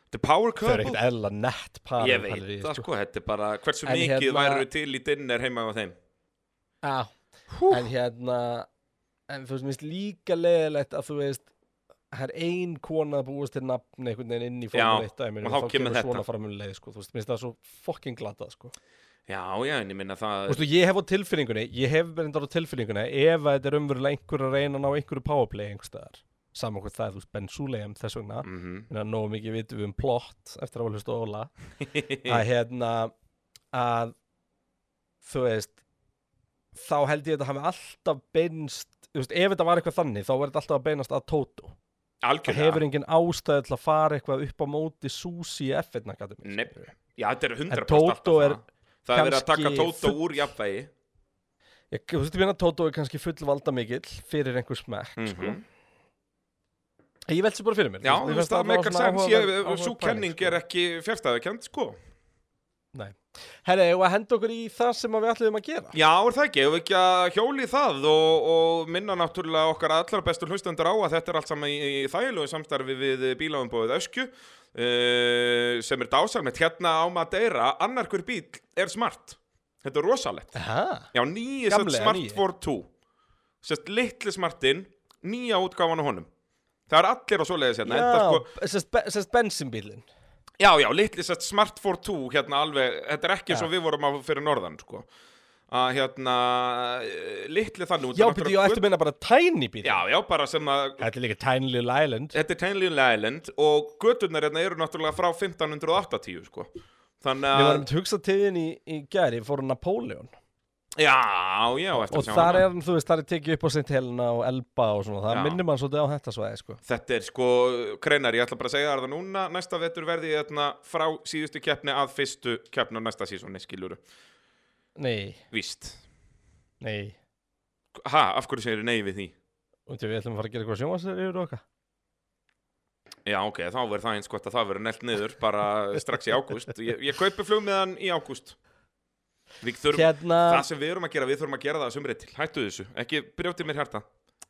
S3: þetta er power
S2: Þau eru
S3: couple
S2: ekkert eðla nett par
S3: Ég veit það sko, þetta er bara Hversu
S2: En
S3: mikið
S2: hérna-
S3: væru til í dinner heima á þeim
S2: Já,
S3: Hú.
S2: en hérna En þú veist, mér finnst líka leðilegt að þú veist Það er ein kona að búast til nafn einhvern veginn inn í
S3: Já,
S2: formule 1 dæminu
S3: og þá kemur þetta.
S2: svona framulegð, sko, þú veist, mér finnst það svo fucking glatað, sko
S3: Já, já, en ég minna það
S2: Þú veist, og ég hef á tilfinningunni, ég hef verið á tilfinningunni ef að þetta er umverulega einhver að reyna að ná einhverju powerplay einhverstaðar saman hvort það er, þú veist, Ben Suleim þess vegna
S3: mm
S2: minna, nógu mikið vitum við um plott eftir að hlusta á Óla að hérna að þú veist þá held ég að þetta hafi alltaf beinst þú veist, ef þetta var eitthvað þannig þá verður þetta alltaf að beinast að Tóto það
S3: Algjörlega
S2: hefur engin ástæði til að fara eitthvað upp á móti Susi í F1 Academy
S3: Nei, Já, þetta er 100%
S2: Tótó
S3: alltaf
S2: er
S3: það. Það er verið að taka
S2: kannski
S3: Tótó
S2: full-
S3: úr jafnvægi
S2: ég, þú veist, ég meina Tóto er kannski fullvalda mikill fyrir einhver smekk
S3: mm
S2: sko. ég velst sér bara fyrir mér
S3: Já,
S2: Þú
S3: þú
S2: veist, mér
S3: veist
S2: fannst
S3: það
S2: bara
S3: meikar
S2: svona
S3: sens
S2: áhugaverð-
S3: ég-
S2: áhugaverð
S3: Sú
S2: pæling,
S3: kenning
S2: sko.
S3: er ekki fjärstæðukend sko
S2: herri, og að henda okkur í það sem að við ætlum að gera
S3: Já, er það ekki, ef við ekki að hjóli í það og, og minna náttúrulega okkar allra bestur hlustendur á að þetta er allt saman í, í þægilegu samstarfi við bíláumbóðið Öskju uh, sem er dásalmett hérna á Madeira, annar hver bíl er smart, þetta er rosalegt
S2: Aha.
S3: Já, nýi
S2: Gamli,
S3: satt
S2: eða
S3: smart
S2: nýi?
S3: for two sérst litli smartinn nýja útgáfan á honum Það er allir á svoleiðis hérna enda, sko,
S2: Já, sérst be- sérst bensinbílin
S3: Já, já, litli sett Smart 42 hérna alveg, þetta er ekki eins og við vorum að fyrir norðan, sko að hérna, eh, litli þannig út
S2: Já, betur ég
S3: af náttúrulega
S2: að eftir meina bara tiny bíl
S3: göt- Já, já, bara sem að
S2: Þetta er líka Tiny Little Island
S3: þetta er Tiny Little Island og göturnar hérna eru náttúrulega frá 1580, sko
S2: Við
S3: Þannig
S2: varum
S3: að,
S2: til hugsa til þín í, í gæri fór hann Napoleon
S3: já, já, eftir
S2: og
S3: að sjá
S2: þar
S3: hana.
S2: er hann, þú veist, þar er tekið upp á St. Helena og Elba og svona, það
S3: Já.
S2: minnir mann svolítið á þetta svæði, sko
S3: Þetta er sko, kreinar, ég ætla bara að segja þér það núna, næsta vetur verði ég hérna frá síðustu keppni að fyrstu keppni á næsta sísóni, skiluru,
S2: Nei,
S3: víst.
S2: nei,
S3: Ha, af hverju segir nei við því?
S2: og við ætlum að fara að gera eitthvað sjónvarsrýður og okkar
S3: Já, ok, þá verður það eins gott að það verður nelt niður bara strax í ágúst. Ég, ég kaupi flugmiðan í ágúst. Við þurfum,
S2: Hérna,
S3: það sem við erum að gera, við þurfum að gera það að sumrið til. Hættu þessu, ekki brjótið mér hérta.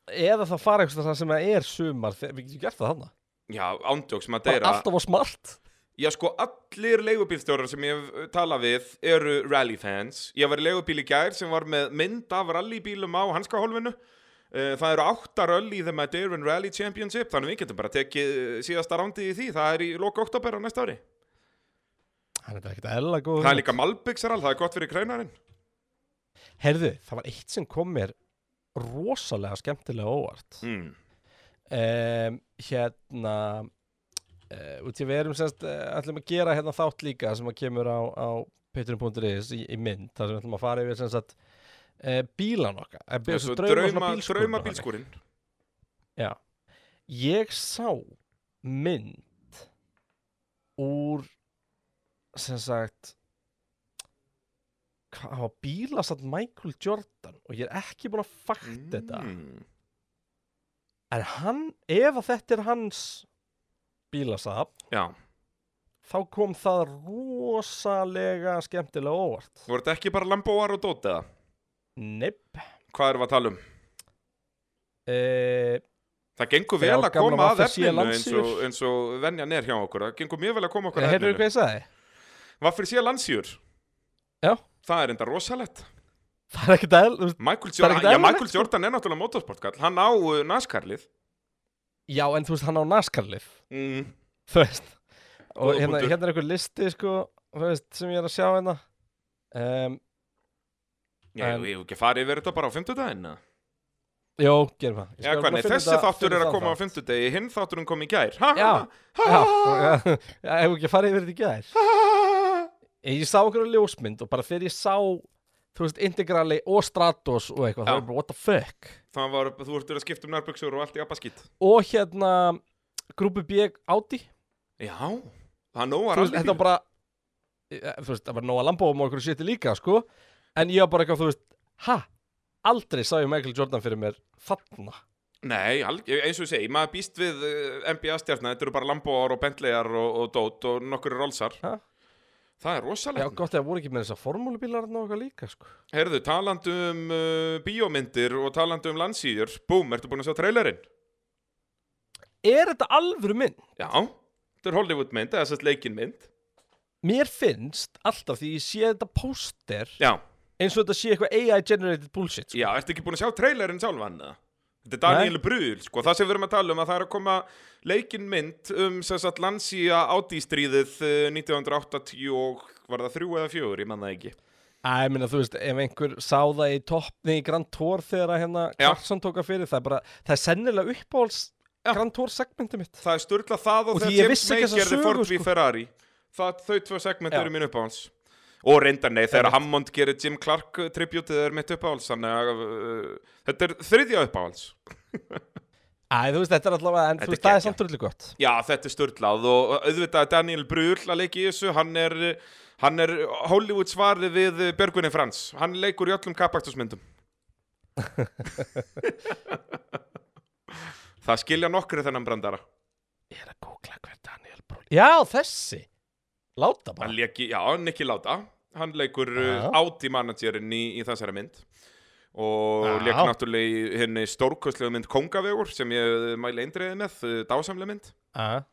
S2: eða það fara eitthvað það sem það er sumar, þegar- við getum gert það þannig
S3: Já, ándjóks,
S2: Bara
S3: Madeira.
S2: alltaf á smart
S3: Já, sko, allir leigubílstjórar sem ég hef talað við eru rallyfans. Ég var í leigubíl í gær sem var með mynd af rallybílum á hanskahólfinu. Eh, Það eru átta rally í The Madeiran Rally Championship, þannig við getum bara tekið eh, síðasta rándið í því. Það er í loka oktober á næsta ári.
S2: Hann er þetta ekkert eðla góð
S3: Það er líka Malbyggsarall, það er gott fyrir kreinarinn.
S2: Herðu, það var eitt sem kom mér rosalega skemmtilega óvart
S3: Mm.
S2: um, hérna uh, út í við erum semst uh, ætlum að gera hérna þátt líka sem að kemur á, á patreon.is í, í mynd þar sem við ætlum að fara yfir semst uh, bílan okkar uh,
S3: Eins og drauma, drauma bílskúrin
S2: Já. ég sá mynd úr sem sagt hvað hafa bílasat Michael Jordan og ég er ekki búin að fakta þetta
S3: Mm.
S2: en hann, ef að þetta er hans bílasat
S3: Já,
S2: þá kom það rosalega skemmtilega óvart
S3: voru þetta ekki bara Lambóar og Dót eða?
S2: Nipp
S3: Hvað erum við að tala um?
S2: e,
S3: Það gengur
S2: Já,
S3: vel að
S2: gamla
S3: koma að
S2: Vaffel
S3: efninu
S2: Sía
S3: eins og,
S2: Landsíur.
S3: eins og venjan er hjá okkur Það gengur mjög vel að koma okkur að
S2: eh, Heyrðu hvað
S3: efninu
S2: ég sagði?
S3: Vaffir síðan landsýur
S2: Já.
S3: Það er enda rosalegt
S2: Það er ekkert eðl þú veist-
S3: Michael,
S2: Það er
S3: Jordan,
S2: ekkert
S3: já,
S2: eðlilegt,
S3: Michael Jordan er náttúrulega motorsportkall Hann á uh, naskarlið
S2: Já, en þú veist, hann á naskarlif
S3: mm.
S2: Þú veist Og
S3: Góður
S2: hérna,
S3: punktur.
S2: hérna er einhver listi, sko þú veist, sem ég er að sjá hérna um,
S3: Ég
S2: En-
S3: hef ekki farið yfir þetta bara á fimmtudaginn eða?
S2: Jó, gerum það Ég
S3: Já,
S2: skal
S3: hvernig,
S2: finna
S3: þessi
S2: þetta
S3: þáttur
S2: fyrir
S3: er að
S2: þann
S3: koma á
S2: þátt.
S3: fimmtudegi Hinn þátturinn kom í gær ha,
S2: Já.
S3: ha,
S2: Já,
S3: ha,
S2: og- já, ef ekki að fara yfir þetta í gær
S3: ha.
S2: Ég sá einhverja ljósmynd og bara þegar ég sá Þú veist, integrali og stratos og eitthvað
S3: Já.
S2: Það var bara, what the fuck
S3: Það var, þú ert verið að skipta um nærbuksur og allt í abbaskýtt.
S2: Og hérna, grúpi B Audi
S3: Já, það er nóg að
S2: þú veist, þetta
S3: rallybíl.
S2: var bara e, þú veist, það var nóg að lamba um okkur sétti líka, sko en ég var bara eitthvað, þú veist, ha aldrei sá ég Michael Jordan fyrir mér þarna,
S3: Nei, alg, eins og ég segi, maður býst við eh, NBA-stjarnar, þetta eru bara Lambóar og Bentleyar og, og Dót og nokkur Rolsar.
S2: Ha?
S3: Það er
S2: Já,
S3: rosalegt.
S2: gott að það voru ekki með þess að formúlubílar og eitthvað líka, sko.
S3: Herðu, talandu um uh, bíómyndir og talandu um landsýður, búm, ertu búin að sjá trailerinn?
S2: Er þetta alvöru mynd?
S3: Já, þetta er Hollywoodmynd, eða sett leikinmynd.
S2: Mér finnst alltaf því ég sé þetta póster
S3: Já,
S2: eins og þetta sé eitthvað AI-generated bullshit, sko.
S3: já, ertu ekki búin að sjá trailerinn sjálfan það? Þetta er
S2: Nei.
S3: Daniel Brühl, sko, það sem við erum að tala um að það er að koma leikinmynd um sem sagt eh, landsýja átístríðið 1980 og var það þrjú eða fjögur, ég man það ekki.
S2: Æ, ég minna, þú veist, ef einhver sá það í toppni í Grand Tour þegar að hérna
S3: Já.
S2: Clarkson tóka fyrir, það er bara, það er sennilega uppáhalds
S3: Já.
S2: Grand Tour segmenti mitt.
S3: Það er sturla það og
S2: Og því
S3: þegar
S2: ég
S3: James
S2: vissi
S3: May
S2: ekki þessa
S3: gerði
S2: sögu,
S3: Ford v
S2: sko.
S3: Ferrari það, Þau tvö segment
S2: Já.
S3: eru mín uppáhans Og reyndar nei, þegar
S2: Einmitt.
S3: Hammond gerir Jim Clark tributið er mitt uppáhals Þannig að uh, þetta er þriðja uppáhals
S2: Æ, þú veist, þetta er allavega, en
S3: Þetta
S2: þú veist,
S3: er
S2: það er
S3: geggjað.
S2: samt rullu gott.
S3: Já, þetta er sturlað og auðvitað er Daniel Brühl að leika í þessu Hann er, hann er Hollywood svarið við Björgvinni Frans Hann leikur í öllum kapaktusmyndum Það skilja nokkri þennan brandara
S2: Ég er að googla hver Daniel Brühl. Já, þessi. Láta
S3: Hann
S2: bara.
S3: leiki, já, Nicky Lauda Hann leikur
S2: Já.
S3: áti managerinn í, í þessari mynd Og
S2: Já.
S3: leik náttúrulega í henni stórkostlegu mynd Kongavegur Sem ég mæli eindriðið með, eh, dásamleg mynd
S2: Hann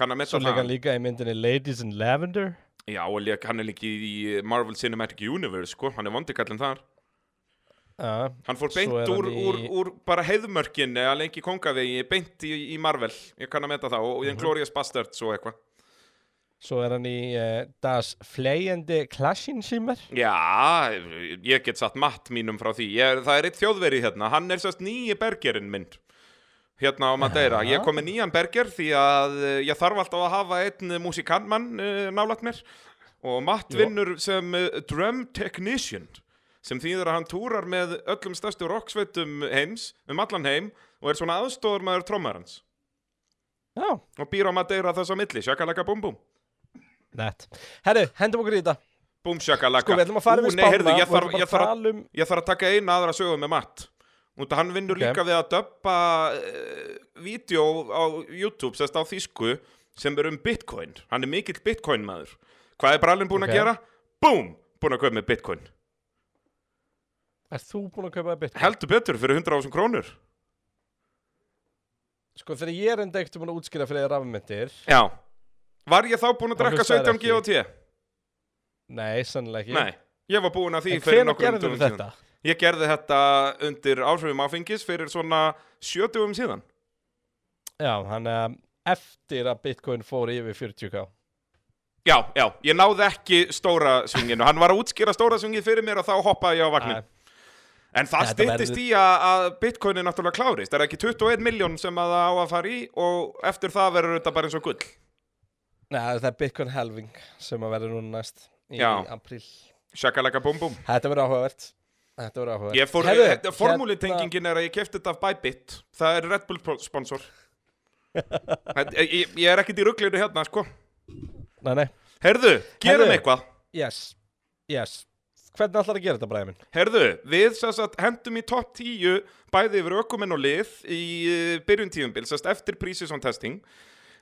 S3: Kann að metta
S2: Ah. Svo leika hann líka í myndinni Ladies in Lavender.
S3: Já, og leik, hann er líka í Marvel Cinematic Universe, sko Hann er vondikallin þar
S2: Já,
S3: Hann fór
S2: Svo
S3: beint
S2: er hann
S3: úr,
S2: í-
S3: úr, úr bara heiðmörkin Eða lengi Kongavegi, beint í, í Marvel Ég kann að metta það, og
S2: Mhm.
S3: mm -hmm. Glorious Bastards og eitthvað
S2: Svo er hann í uh, Das Fleyende Klaschinschimmer.
S3: Já, ég get satt matt mínum frá því ég, Það er eitt þjóðveri hérna Hann er sérst nýji bergerinn minn Hérna á Madeira Ég kom með nýjan berger því að eh, Ég þarf alltaf að hafa einn músikantmann eh, Nálægt mér Og matt
S2: Jó.
S3: vinnur sem eh, drum technician Sem þýðir að hann túrar með öllum stærstu rocksveitum heims Um allan heim Og er svona aðstóðarmaður trómarans
S2: Já,
S3: Og býr á Madeira þess á milli Shakalaka búm búm
S2: nætt. Herru, hendum okkur í þetta.
S3: Búm shakalaka
S2: Sko, við ætlum að fara
S3: Ú,
S2: yfir
S3: nei,
S2: spána
S3: heyrðu, ég
S2: og
S3: þarf-
S2: ætlum bara
S3: ég þarf að
S2: tala um...
S3: Ég þarf að taka eina aðra sögu með Matt Út að hann
S2: Ok.
S3: vinnur líka við að döppa uh, Vídeó á YouTube Sest á þýsku Sem er um bitcoin Hann er mikill bitcoin maður Hvað er brallin
S2: Ok.
S3: búin að gera? Búm! Búin að kaupa með bitcoin
S2: Er þú búin að kaupa bitcoin?
S3: Heldur betur fyrir 100.000 krónur
S2: Sko, þegar ég er enda ekkert um að útskýra fyrir þér rafmyndir.
S3: Já Var ég þá búin að
S2: Hann
S3: drekka
S2: hlustaði
S3: 17 GOT?
S2: Nei, sannilega ekki.
S3: Nei, ég var búin að því
S2: En hvernig
S3: nokkrum
S2: gerðum
S3: dögum
S2: við
S3: síðan.
S2: þetta?
S3: Ég gerði þetta undir áhrifum áfengis fyrir svona 70 um síðan
S2: Já, hann um, eftir að bitcoin fór yfir 40k.
S3: Já, já, ég náði ekki stóra svinginu Hann var að útskýra stóra svingið fyrir mér og þá hoppaði ég á vagnin
S2: Æ,
S3: En það
S2: Þetta
S3: styttist
S2: verður-
S3: í að, að bitcoin er náttúrulega klárist Það er ekki 21 miljón sem að það á að fara í og eftir það verður þetta bara eins og gull
S2: Nei, það er bitcoin helving sem að verður núna næst í
S3: Já.
S2: apríl.
S3: Shakalaka bum bum
S2: Þetta verður áhugavert. Þetta verður áhugavert.
S3: Ég fór,
S2: Herru,
S3: hérna, formúlitengingin er að ég kefti þetta af Bybit Það er Red Bull pro- sponsor Þetta- ég, ég- ég er ekkert í ruglinu hérna, sko
S2: Hérna, nei, nei.
S3: Herðu, gerum
S2: Herðu.
S3: eitthvað
S2: Yes. Yes. Hvernig ætlar að gera þetta, bræði minn?
S3: Herðu, við sem sagt, hendum í topp 10 bæði yfir ökumenn og lið í eh, byrjun tíðumbil, sérst eftir pre-season testing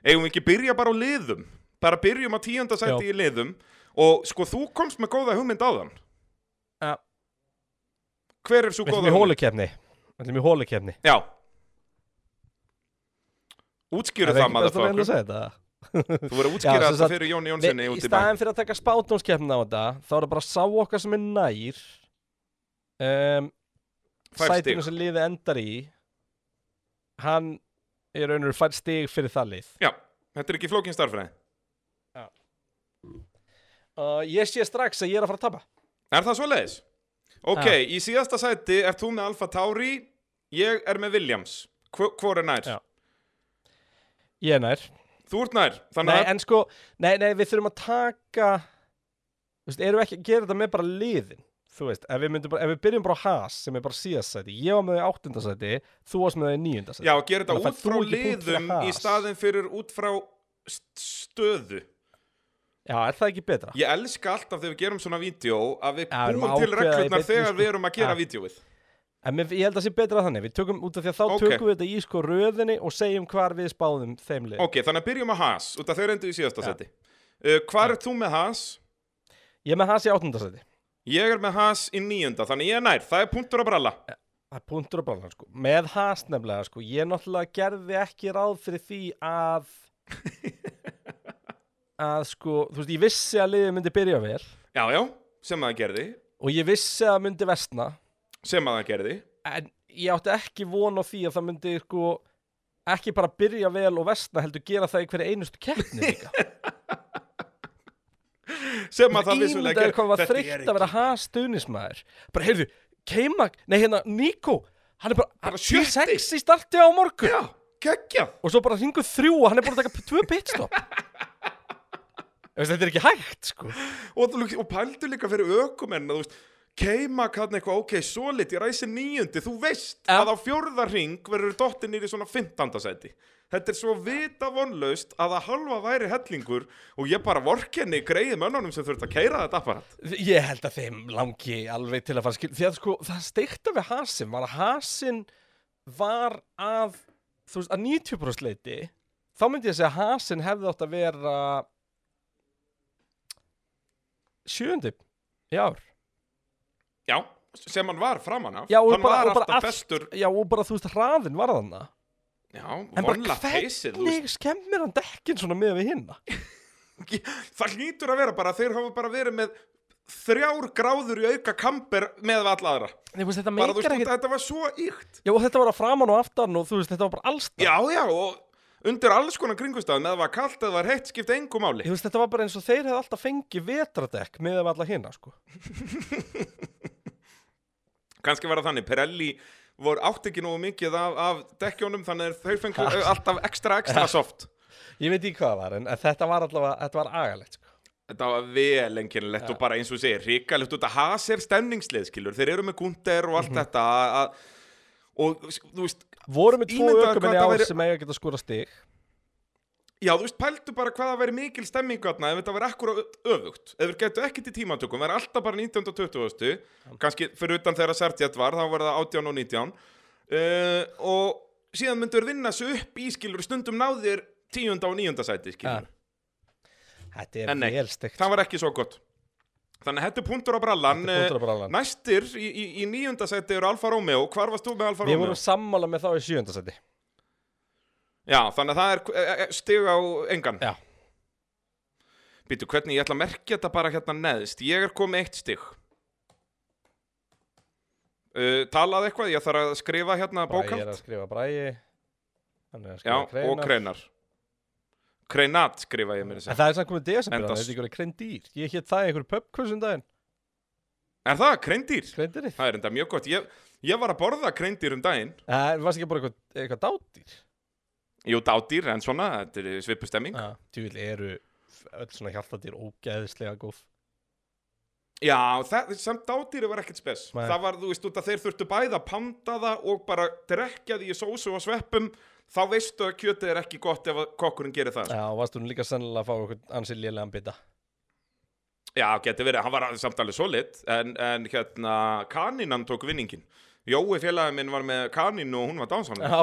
S3: eigum við ekki byrja bara á liðum bara byrjum á tíunda sæti
S2: Já.
S3: í liðum og sko þú komst með góða hugmynd áðan
S2: Já.
S3: Hver er svo
S2: Við
S3: góða
S2: ætlum í hólukefni Við ætlum í hólukefni
S3: Já Útskýru það maður
S2: Það er ekki best að reyna að segja þetta
S3: Þú verður að útskýra
S2: Já, sem
S3: þetta
S2: sagt,
S3: fyrir Jóni Jónssoni
S2: Nei, Í
S3: út í bæ
S2: staðin fyrir að taka spátdómskeppna á þetta Þá er það bara að sá okkar sem er nær um,
S3: Fær stig.
S2: Sætinu sem liðið endar í Hann er raunur fær stig fyrir það lið
S3: Já, þetta er ekki flókin starfræði
S2: uh, Ég sé strax að ég er að fara að tapa
S3: Er það svoleiðis? Ok, í síðasta sæti er þú með Alfa Tauri Ég er með Williams Hvor, hvor er nær?
S2: Já. Ég er nær
S3: Þú ert nær Þannig
S2: Nei,
S3: að
S2: en sko, nei, nei, við þurfum að taka Þú veist, erum við ekki að gera þetta með bara liðin Þú veist, ef við, myndum bara, ef við byrjum bara á Haas sem er bara síðastsæti, ég var með þau áttundasæti þú varst með þau níundasæti
S3: Já, gera
S2: Þannig að
S3: þetta út
S2: fær þú
S3: frá
S2: ekki punkt fyrir
S3: liðum í
S2: Haas.
S3: staðin fyrir út frá st- stöðu
S2: Já, er það ekki betra?
S3: Ég elska alltaf þegar við gerum svona vídeo að við
S2: Já, við erum
S3: búum
S2: að
S3: til
S2: ákveða í
S3: reglurnar
S2: beinni,
S3: þegar
S2: sko.
S3: við erum að gera
S2: Já.
S3: vídeoið
S2: En mér, ég held að það sé betra þannig, við tökum út af því að þá
S3: Ok.
S2: tökum við þetta í sko röðinni og segjum hvar við spáðum þeim lið
S3: Ok, þannig að byrjum að Haas út af þeir endur í síðasta
S2: Já.
S3: sæti Uh, hvar ert þú með Haas?
S2: Ég er með hans í áttundasæti
S3: Ég er með Haas í nýjunda, þannig ég er nær. Það er punktur að bralla.
S2: Það er punktur og brannan sko Með hans nefnilega sko Ég náttúrulega gerði ekki ráð fyrir því að Að sko Þú veist, ég vissi að liðið myndi byrja vel
S3: Já, já, sem að það gerði.
S2: Og ég vissi að það myndi vestna
S3: Sem að það gerði.
S2: En ég átti ekki von á því að það myndi sko Ekki bara byrja vel og vestna heldur gera það í hverju einustu keppni líka
S3: Sem að það vissulega
S2: Ímyndaður hvað var þreytt að vera hans stuðnismæður Bara heyrðu, keima Nei hérna, Nico Hann er bara,
S3: Bara
S2: bara
S3: sjötti.
S2: 6 í starti á morgun
S3: Já, geggja.
S2: og svo bara hringur þrjú og hann er búin að taka p- tvö pitstop Ég veist, þetta er ekki hægt sko
S3: Og, þú- og pældu líka fyrir ökumenn, þú veist, keima hann eitthvað, ok, solid, ég ræsi nýjundi, þú veist
S2: Já.
S3: að á fjórða ring verður dottin í svona 15. seti. Þetta er svo vita vonlaust að að halva væri hellingur og ég bara vorkenni greiði mönnunum sem þurft að keira þetta apparat.
S2: ég held að þeim langi alveg til að fara skil því að sko það steikta við hasin var að hasin var að þú veist að 90% leiti þá myndi ég segja að hasin hefði átt að vera sjöundi í ár
S3: Já, sem hann var framan af.
S2: já og,
S3: hann
S2: bara,
S3: var
S2: og, bara
S3: alltaf
S2: allt,
S3: bestur.
S2: já, og bara þú veist hraðin var þarna
S3: Já,
S2: en bara
S3: vonla peysið, þú veist.
S2: hvernig skemmir hann dekkin svona með við hinna
S3: Það hlýtur að vera bara, þeir hafa bara verið með þrjár gráður í auka kamper með alla aðra.
S2: Nei, þú veist, þetta
S3: Bara, þú
S2: meikar
S3: veist,
S2: ekkert
S3: þetta var svo íkt.
S2: Já, og þetta var að framan og aftan og þú veist, þetta var bara allstað.
S3: Já, já, og undir alls konar kringustafn eða það var kallt eða það var heitt skipti engu máli
S2: Ég veist, þetta var bara eins og þeir hefði alltaf fengið vetradekk með af alla hina, sko.
S3: kannski var það þannig, Pirelli voru átt ekki nógu mikið af, af dekkjónum þannig að þau fengu eh,
S2: Ha.
S3: alltaf ekstra ekstra soft
S2: Ég veit ekki hvað það var, en, en þetta var allavega, þetta var agalegt, sko.
S3: Þetta var vel enginlegt og bara eins og þú segir, ríkalegt út að has er stemningslið, skilur, þeir eru með Gunder og allt
S2: Mhm.
S3: þetta að, að, og þú veist,
S2: Voru með tvo
S3: Ímyndaðu hvað
S2: ökumenni
S3: þetta
S2: ár
S3: væri-
S2: sem eiga að geta skora stig.
S3: Já, þú veist, pældu bara hvað það væri mikil stemmingu þarna ef þetta væri akkur öfugt. Ef þeir getur ekkert í tímatökum, væri alltaf bara 19. og 20. kannski fyrir utan þegar Sertjætt var, þá var það 18 og 19. Uh, og síðan myndur vinna svo upp í skilur stundum náðir 10. og 9. sæti skilur.
S2: Þetta
S3: En
S2: er
S3: nei,
S2: vel steikt.
S3: Það var ekki svo gott. Þannig að þetta er punktur á brallan.
S2: Þetta er punktur á brallan.
S3: Eh, Næstir í, í, í 9. sæti eru Alfa Romeo. Hvar varst þú með Alfa
S2: Við
S3: Romeo?
S2: vorum sammála með þá í sjöndasæti.
S3: Já, þannig að það er eh, stig á engan.
S2: Já.
S3: Býtu, hvernig ég ætla að merkja þetta bara hérna neðst? Ég er komið eitt stig. Uh, talað eitthvað, ég þarf að skrifa hérna
S2: Bræði er
S3: bókald.
S2: að skrifa bræði, hann er að
S3: Já,
S2: skrifa kreinar.
S3: og kreinar. Kreinat skrifa ég mér
S2: En
S3: þess að.
S2: það er samt komið desember,
S3: Endast.
S2: það er ekki verið kreindýr. Ég hétt það í einhverju pubkursum daginn,
S3: Er það kreindýr?
S2: kreindýrið.
S3: Það er enda mjög gott. Ég, ég var að borða kreindýr um daginn.
S2: Það varst Eh, ekki bara eitthvað, eitthvað dátdýr.
S3: Jú, dádýr, en svona, þetta er svipustemming.
S2: Já, tjúvill Ah, eru öll svona hjaltadýr ógeðislega góð.
S3: Já, það, samt dádýri var ekkert spes.
S2: Nei.
S3: Það var, þú veist, út að þeir þurftu bæða að panda það og bara drekja því í sósu og sveppum. Þá veistu að kjötið er ekki gott ef að kokkurinn gerir það. sko.
S2: Já, og varst hún líka sennilega að fá eitthvað ansið lélegan bita
S3: Já, geti verið, hann var samt alveg solid en, en hérna, kanínan tók vinningin Jói félagin minn var með kanínu og hún var dánsanlega
S2: Já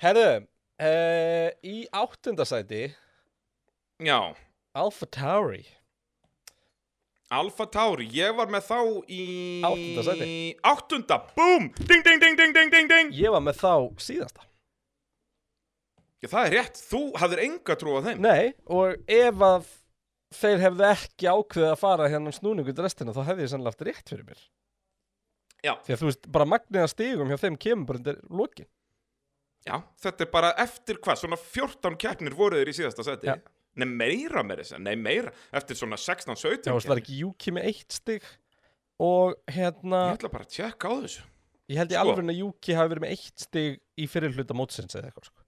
S2: Herðu, uh, í áttundasæti
S3: Já,
S2: Alpha Tauri
S3: Alfa Tauri, ég var með þá í
S2: Áttunda sæti.
S3: Áttunda, búm, ding, ding, ding, ding, ding, ding, ding
S2: Ég var með þá síðasta
S3: Já, það er rétt, þú hafðir enga trú á þeim
S2: Nei, og ef að þeir hefðu ekki ákveðið að fara hérna um snúningu til restina þá hefði ég sennilega haft rétt fyrir mér
S3: Já.
S2: Því að þú veist, bara magniða stigum hjá þeim kemur bara undir lokin
S3: Já, þetta er bara eftir hvað, svona 14 keppnir voru þeir í síðasta seti
S2: Já.
S3: Nei, meira með þess að, nei, meira Eftir svona 16-17
S2: Já, þú veist, var
S3: keppnir.
S2: ekki Juki með eitt stig og hérna
S3: Ég ætla bara að tjekka á þessu
S2: Ég held í
S3: Sko.
S2: alveg að Juki hafi verið með eitt stig í fyrir hluta mótsins eða eitthvað sko.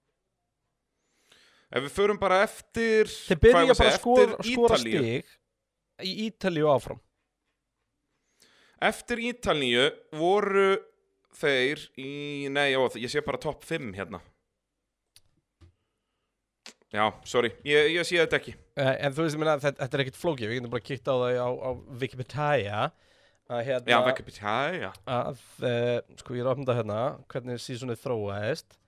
S3: Ef við förum bara eftir
S2: Þeir
S3: hvað
S2: byrja
S3: ég var að
S2: bara að
S3: segja,
S2: skora,
S3: eftir
S2: skora
S3: Ítalíu.
S2: stig í Ítalíu og áfram
S3: Eftir Ítalíu voru þeir í, nei, já, ég sé bara topp 5 hérna. Já, sorry, ég, ég sé þetta ekki.
S2: uh, En þú veist, ég meina, þetta, þetta er ekkit flókið Við getum bara kýtt á það á, á Wikipedia að
S3: Já,
S2: hérna
S3: vekk upp í tæja.
S2: að, uh, sko ég er að opna þetta hérna hvernig sísunnið þróaðist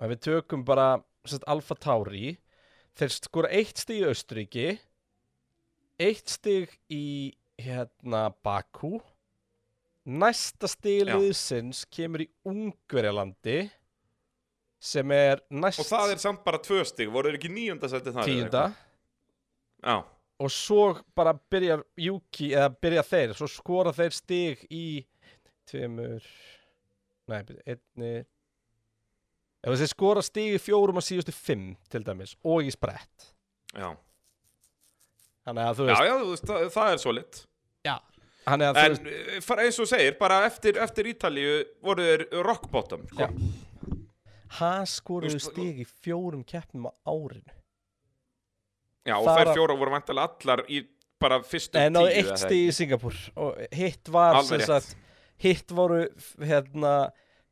S2: og ef við tökum bara sérst, Alfa Tauri Þeir skora eitt stig í Östuríki Eitt stig í hérna Bakú Næsta stig
S3: Já.
S2: liðsins kemur í Ungverjalandi sem er næst
S3: Og það er samt bara tvö stig, voru þeir ekki nýjunda sætti það?
S2: tíunda
S3: Já,
S2: og svo bara byrjar Juki eða byrja þeir, svo skora þeir stig í tveimur nei, byrja, einni ef þeir skora stig í fjórum og síðustu fimm til dæmis og í sprett
S3: já,
S2: þannig að þú
S3: já,
S2: veist,
S3: já þú veist, það, það er svo lit
S2: þannig að þú
S3: En
S2: veist
S3: eh, fara eins og þú segir, bara eftir, eftir Ítalíu voru þeir rock bottom sko.
S2: Já. hann skoruðu
S3: Þú veist,
S2: stig í fjórum keppnum á árinu
S3: Já, og
S2: Það
S3: þær
S2: er að-
S3: fjóra voru vantilega allar í bara fyrstu
S2: en náðu
S3: tíu
S2: eitt
S3: eða það
S2: stig í Singapur og hitt var
S3: Alveg
S2: sem
S3: rétt.
S2: sagt, hitt voru f- hérna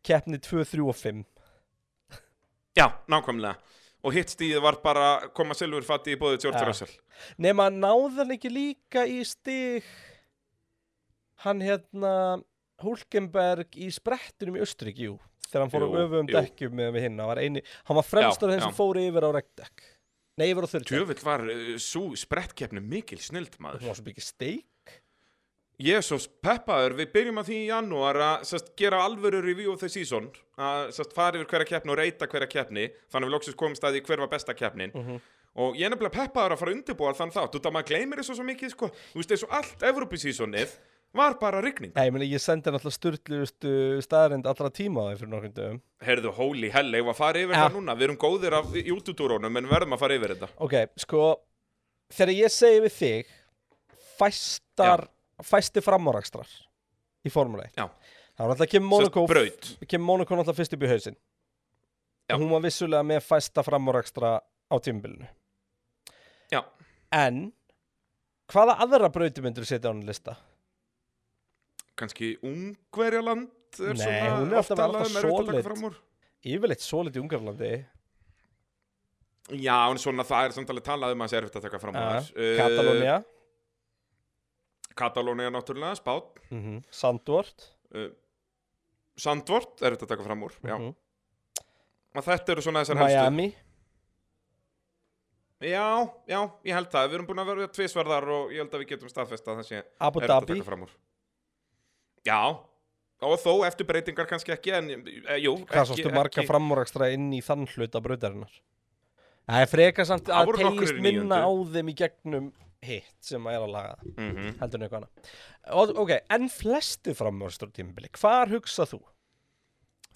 S2: keppni 2, 3 og 5
S3: Já, nákvæmlega Og hitt stíð var bara koma silfurfatti í bóðið George
S2: Já.
S3: Russell
S2: Nefn að náðan ekki líka í stig hann hérna Hulkenberg í sprettunum í Östurík, jú þegar hann fór á
S3: Jú,
S2: öfum
S3: jú.
S2: dekkjum með við hinn hann var, eini, hann var fremstur af
S3: Já,
S2: þeim sem
S3: já.
S2: fóru yfir á regndekk nei, yfir á þurrdekk
S3: Tjöfull var uh, svo sprettkeppni mikil snild
S2: hún
S3: maður
S2: var svo mikið steik
S3: Ég er svo peppaður, við byrjum að því í janúar að sest, gera alvöru review of the season að sest, fara yfir hverja keppni og reyta hverja keppni þannig að við loksist komum staði hver var besta keppnin
S2: Mhm.
S3: og ég er nefnilega peppaður að fara að undirbúa þann þátt út að maður gleymir þessu svo mikið sko þú veist eins og allt Evrópisísonið var bara rigning
S2: nei, ég, meni, ég sendi hann alltaf styrtlustu staðarind allra tíma á því fyrir nokkrum dögum
S3: Herðu, holy hell, eigum við að fara yfir
S2: Ja.
S3: það núna Við erum góðir af YouTube-túrónum en við verðum að fara yfir þetta
S2: ok, sko þegar ég segi við þig fæstar, fæsti framárakstrar í formule 1
S3: Já.
S2: þá er alltaf kemur
S3: Sest,
S2: Monaco
S3: Braut
S2: kemur Monaco náttúrulega fyrst upp í hausinn
S3: Já.
S2: og hún var vissulega með fæsta framúrækstra á tímbilinu
S3: Já.
S2: en hvaða aðra brauti myndur setja á hann lista?
S3: kannski Ungverjaland er
S2: Nei,
S3: svona
S2: hún er alltaf-
S3: oft
S2: alltaf
S3: talað um erfitt að taka
S2: solid.
S3: fram úr.
S2: yfirleitt svolítið í Ungarlandi
S3: Já, en svona það er samtalið talað um að það er erfitt að taka fram
S2: uh,
S3: úr Uh,
S2: Katalónia
S3: Katalónia náttúrulega, Spát
S2: mm Sandvort
S3: uh, Sandvort, erfitt að taka fram úr Já,
S2: Mhm.
S3: og þetta eru svona þessar helstu
S2: Miami
S3: Já, já, ég held það, við erum búin að vera tvisverðar og ég held að við getum staðfesta það sé
S2: Abu
S3: erfitt að
S2: Dhabi
S3: taka fram úr Já, og þó eftir breytingar kannski ekki, en e, jú
S2: hvað
S3: ekki-
S2: sástu marga
S3: ekki-
S2: framúrækstra inn í þann hluta brautarinnar það er frekar samt
S3: Það
S2: að
S3: voru nokkrir
S2: tegist minna á
S3: níundu.
S2: þeim í gegnum hitt sem að er að laga það
S3: Mhm.
S2: heldur en eitthvað annað Og- ok, en flesti framvörstur tímabili hvar hugsa þú?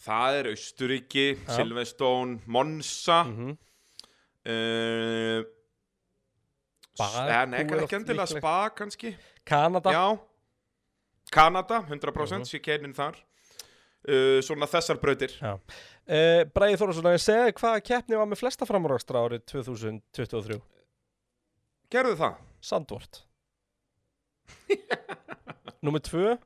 S3: Það er Austuríki,
S2: Já.
S3: Silveston, Monsa mm.
S2: -hmm.
S3: uh,
S2: Baku
S3: En ekki,
S2: er oft
S3: ekki endilega
S2: líklegt.
S3: Spa kannski
S2: Kanada
S3: Já Kanada,
S2: Mhm.
S3: 100% sé keinin þar uh, Svona þessar brautir
S2: uh, Bræði Þórsson, að ég segi hvaða keppni var með flesta framvörstra árið 2023
S3: Gerðu það
S2: Sandvort Númer 2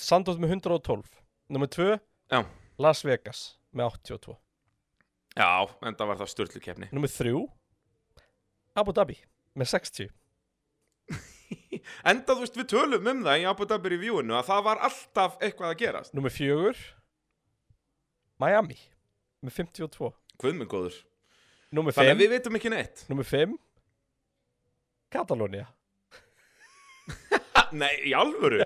S2: Sandvort með 112 Númer 2
S3: Já.
S2: Las Vegas með 82
S3: Já, en það var það störtlu keppni
S2: Númer 3 Abu Dhabi með 60
S3: Enda þú veist við tölum um það í Abu Dhabi reviewinu að það var alltaf eitthvað að gerast
S2: Númer 4 Miami með 52
S3: Guðmund góður
S2: Númer
S3: Þannig
S2: 5
S3: að við veitum ekki neitt
S2: Númer 5 Katalónia
S3: ha, Nei, í alvöru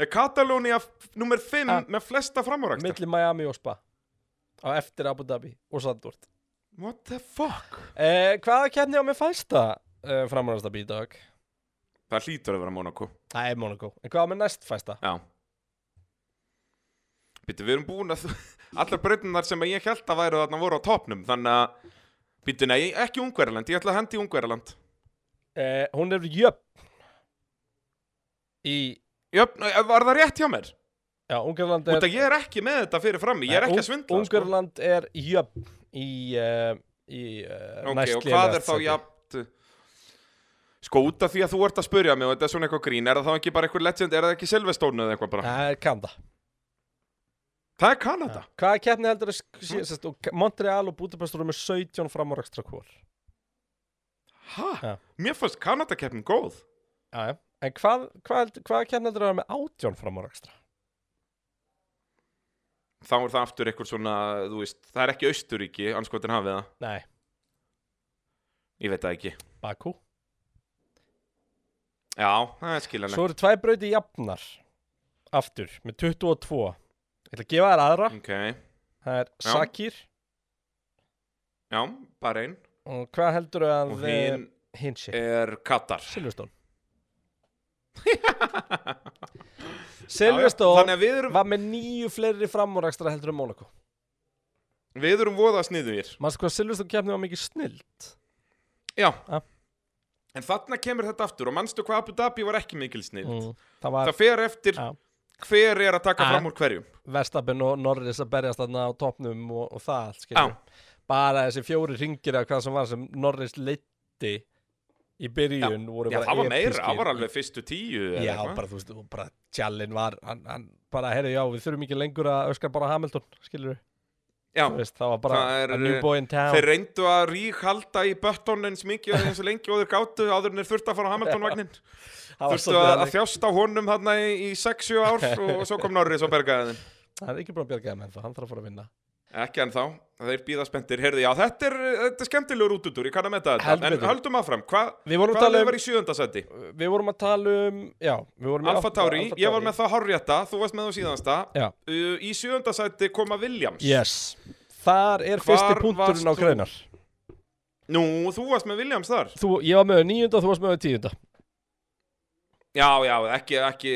S3: Er Katalónia f- númer 5
S2: Ah.
S3: með flesta framáraksta
S2: Milli Miami og Spa Á eftir Abu Dhabi og Sandvort
S3: What the fuck?
S2: eh, Hvaða kefni á mig fæsta eh, framræðasta í dag?
S3: Það hlýtur að vera Monaco
S2: Það er Monaco En hvað á mig næst fæsta?
S3: Já Býttu, við erum búin að Allar breytunar sem ég held að væru þarna voru á topnum Þannig að Býttu, nei, ekki Ungverjaland Ég ætla að hendi í Ungverjaland
S2: Eh, hún er jöfn Í
S3: Jöfn, eh, var það rétt hjá mér?
S2: Já, Ungarland
S3: Út
S2: er
S3: að ég er ekki með þetta fyrir frammi Ég er ekki að svindla sko.
S2: Ung- Ungarland er jöfn í, uh, í uh,
S3: sko. Ok,
S2: næst
S3: og hvað
S2: lélegast
S3: er þá
S2: sæti.
S3: jafnt Sko, út af því að þú ert að spurja mig Og þetta er svona eitthvað grín Er það þá ekki bara eitthvað legend Er það ekki Silvestónu eða eitthvað bara
S2: Það er Kanda
S3: Það er Kanada
S2: Hvaða keppni heldur
S3: Hm.
S2: að Montreal og Budapest voru með 17 framúrækstra kvór
S3: Hæ?
S2: Já.
S3: Mér fannst Kanadakeppnin góð
S2: Já, já. En hvað, hvað, held- hvaða keppni heldur að vera með 18 framúrækstra?
S3: Þá er það aftur eitthvað svona, þú veist, það er ekki Austuríki, anskotin hafið það.
S2: Nei
S3: Ég veit það ekki
S2: Bakú
S3: Já, það er skiljanlegt
S2: Svo eru tvær brauti jafnar Aftur, með 22 Ég ætla að gefa þér aðra
S3: Ok,
S2: Það er
S3: Mm. Já.
S2: Sakir
S3: já, bara einn
S2: Og hvað heldur að
S3: Og eh. hinn
S2: hinn sé?
S3: er Katar
S2: Silvestón
S3: Já, já,
S2: Silvestón
S3: Þannig að við erum,
S2: var með nýju fleiri framúrækstra heldur en Mónaco
S3: við erum voða sniðugir
S2: Manstu hvað Silvestón kefni var mikið snilt?
S3: Já
S2: Ja.
S3: En þarna kemur þetta aftur og manstu hvað Abu Dhabi var ekki mikil snild
S2: Það var
S3: Það fer eftir
S2: Mm. Já. Ah.
S3: hver er að taka
S2: Ja.
S3: fram úr hverjum
S2: Verstappen og Norris að berjast þarna á topnum og, og það allt skilur
S3: Já.
S2: bara þessi fjóri ringir eða hvað sem var sem Norris leiddi í byrjun voru
S3: Já,
S2: bara
S3: það var meira,
S2: episkir.
S3: það var alveg fyrstu tíu eða
S2: já,
S3: eitthvað.
S2: bara þú veist, og bara Jallin var hann, hann bara, herri, já, við þurfum ekki lengur að öskar bara Hamilton, skilur við
S3: já.
S2: veist, það var bara
S3: Það er, eh,
S2: a new boy in town
S3: Þeir reyndu að ríkhalda í bötton eins mikið og eins og lengi og þeir gátu áður en þeir þurftu að fara á Hamilton-vagnin
S2: það var
S3: Þurftu
S2: svolítið
S3: að, að
S2: þannig.
S3: þjást á honum þarna í, í 6-7 ár og, og svo kom Norris og bergaði þeim
S2: hann er ekki búin að bjarga þeim ennþá, hann þarf að fara að vinna
S3: Ekki en þá, þeir býða spenntir Heyrðu, já, þetta er, þetta er skemmtilegur útudur, ég kann að metta þetta
S2: Heldur
S3: En
S2: betur.
S3: höldum áfram, Hva,
S2: við vorum, að
S3: hvað
S2: tala
S3: leið
S2: um,
S3: var í sjöundasæti?
S2: við vorum að tala um já, við vorum í
S3: Alfa
S2: átta-
S3: Tauri,
S2: Alpha
S3: ég var með það hárrétta, þú varst með það síðansta
S2: Já.
S3: Uh, Í sjöundasæti koma Williams
S2: yes, þar er
S3: Hvar
S2: fyrsti punkturinn á
S3: varst þú?
S2: greinar
S3: Nú, þú varst með Williams þar
S2: þú, ég var með níunda og þú varst með tíunda
S3: Já, já, ekki, ekki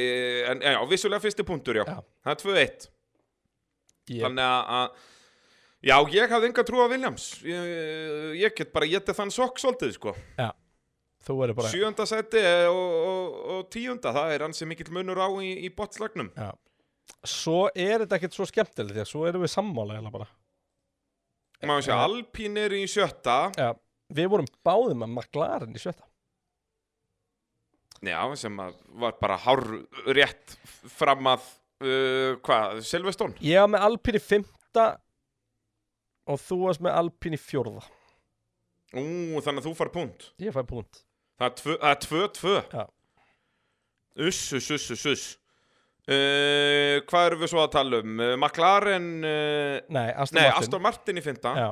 S3: en, Já, vissulega fyrsti punktur, já,
S2: Já.
S3: Það er 2-1
S2: ég,
S3: Þannig að- að Já, ég hafði enga trú á Williams Ég, ég get bara getið þann sokk svolítið, sko
S2: þú verður bara
S3: Sjöunda seti og, og, og tíunda Það er ansi mikill munur á í, í botslagnum
S2: svo er þetta ekkert svo skemmtilegt því að svo erum við sammála eiginlega bara
S3: Má sé,
S2: Já.
S3: Alpín er í sjötta
S2: ja, við vorum báðum að McLaren í sjötta
S3: Já, sem að var bara hár rétt fram að uh, Hvað, Silveston?
S2: ég var með Alpine í fymta og þú varst með Alpine í fjórða
S3: Ú, þannig að þú far punkt
S2: ég fæ punkt
S3: Það er tvö- það er tvö, tvö
S2: Já.
S3: Uss, uss, uss, uss, uss uh, Hvað erum við svo að tala um? Uh, McLaren uh,
S2: nei, Aston
S3: Nei,
S2: Martin
S3: Aston Martin í fynda
S2: Já.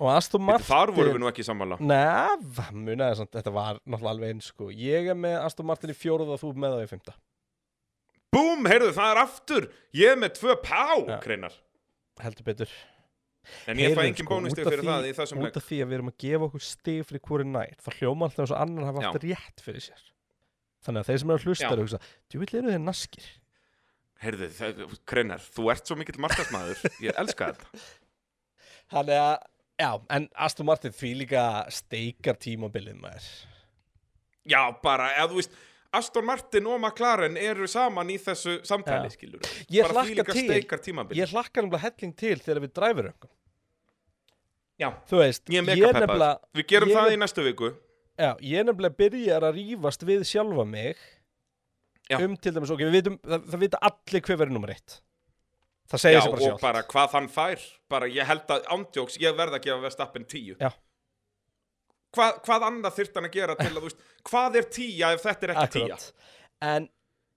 S2: og Aston Martin
S3: Þar vorum við nú ekki sammála
S2: Nei, munaði samt, þetta var náttúrulega alveg eins sko Ég er með Aston Martin í fjórða og þú með það í fymta
S3: Búm, heyrðu, það er aftur Ég er með tvö pá,
S2: Já.
S3: kreinar
S2: Heldur betur
S3: En ég fæ
S2: Heyrðu,
S3: engin
S2: sko,
S3: bónustið
S2: út af
S3: fyrir
S2: því-
S3: það í þessum
S2: út
S3: leik
S2: af því að við erum að gefa okkur stig fyrir hverju nætt það hljóma alltaf eins og annar hafa
S3: Já.
S2: haft rétt fyrir sér þannig að þeir sem eru að hlusta
S3: Já.
S2: eru að hugsa djúvill eru þeir naskir
S3: Heyrðu, það- kreinar, þú ert svo mikill markasmaður Ég elska þetta
S2: þannig að, já, en Aston Martin því líka steikar tímabilið maður
S3: Já, bara, eða þú veist Aston Martin og McLaren eru saman í þessu samtali,
S2: Já.
S3: skilur
S2: Ég
S3: Bara
S2: hlakka
S3: þvílíkar
S2: til.
S3: steikar tímabil
S2: ég hlakkar nefnilega helling til þegar við dræfur okkur
S3: Já,
S2: þú veist,
S3: ég er mega
S2: nefnilega
S3: peppaður Við gerum
S2: ég
S3: það
S2: er-
S3: í næstu viku
S2: já, ég nefnilega byrjar að rífast við sjálfa mig
S3: Já.
S2: um til dæmis, ok, við vitum það, það vita allir hver verið nummer eitt það segir
S3: Já,
S2: sig bara
S3: og
S2: sjálf
S3: bara hvað hann fær bara ég held að ándjóks, ég verð að gefa Vestappen 10
S2: Já.
S3: Hva, hvað annað þyrt hann að gera til að þú veist hvað er 10 ef þetta er ekki 10
S2: Akkurat. En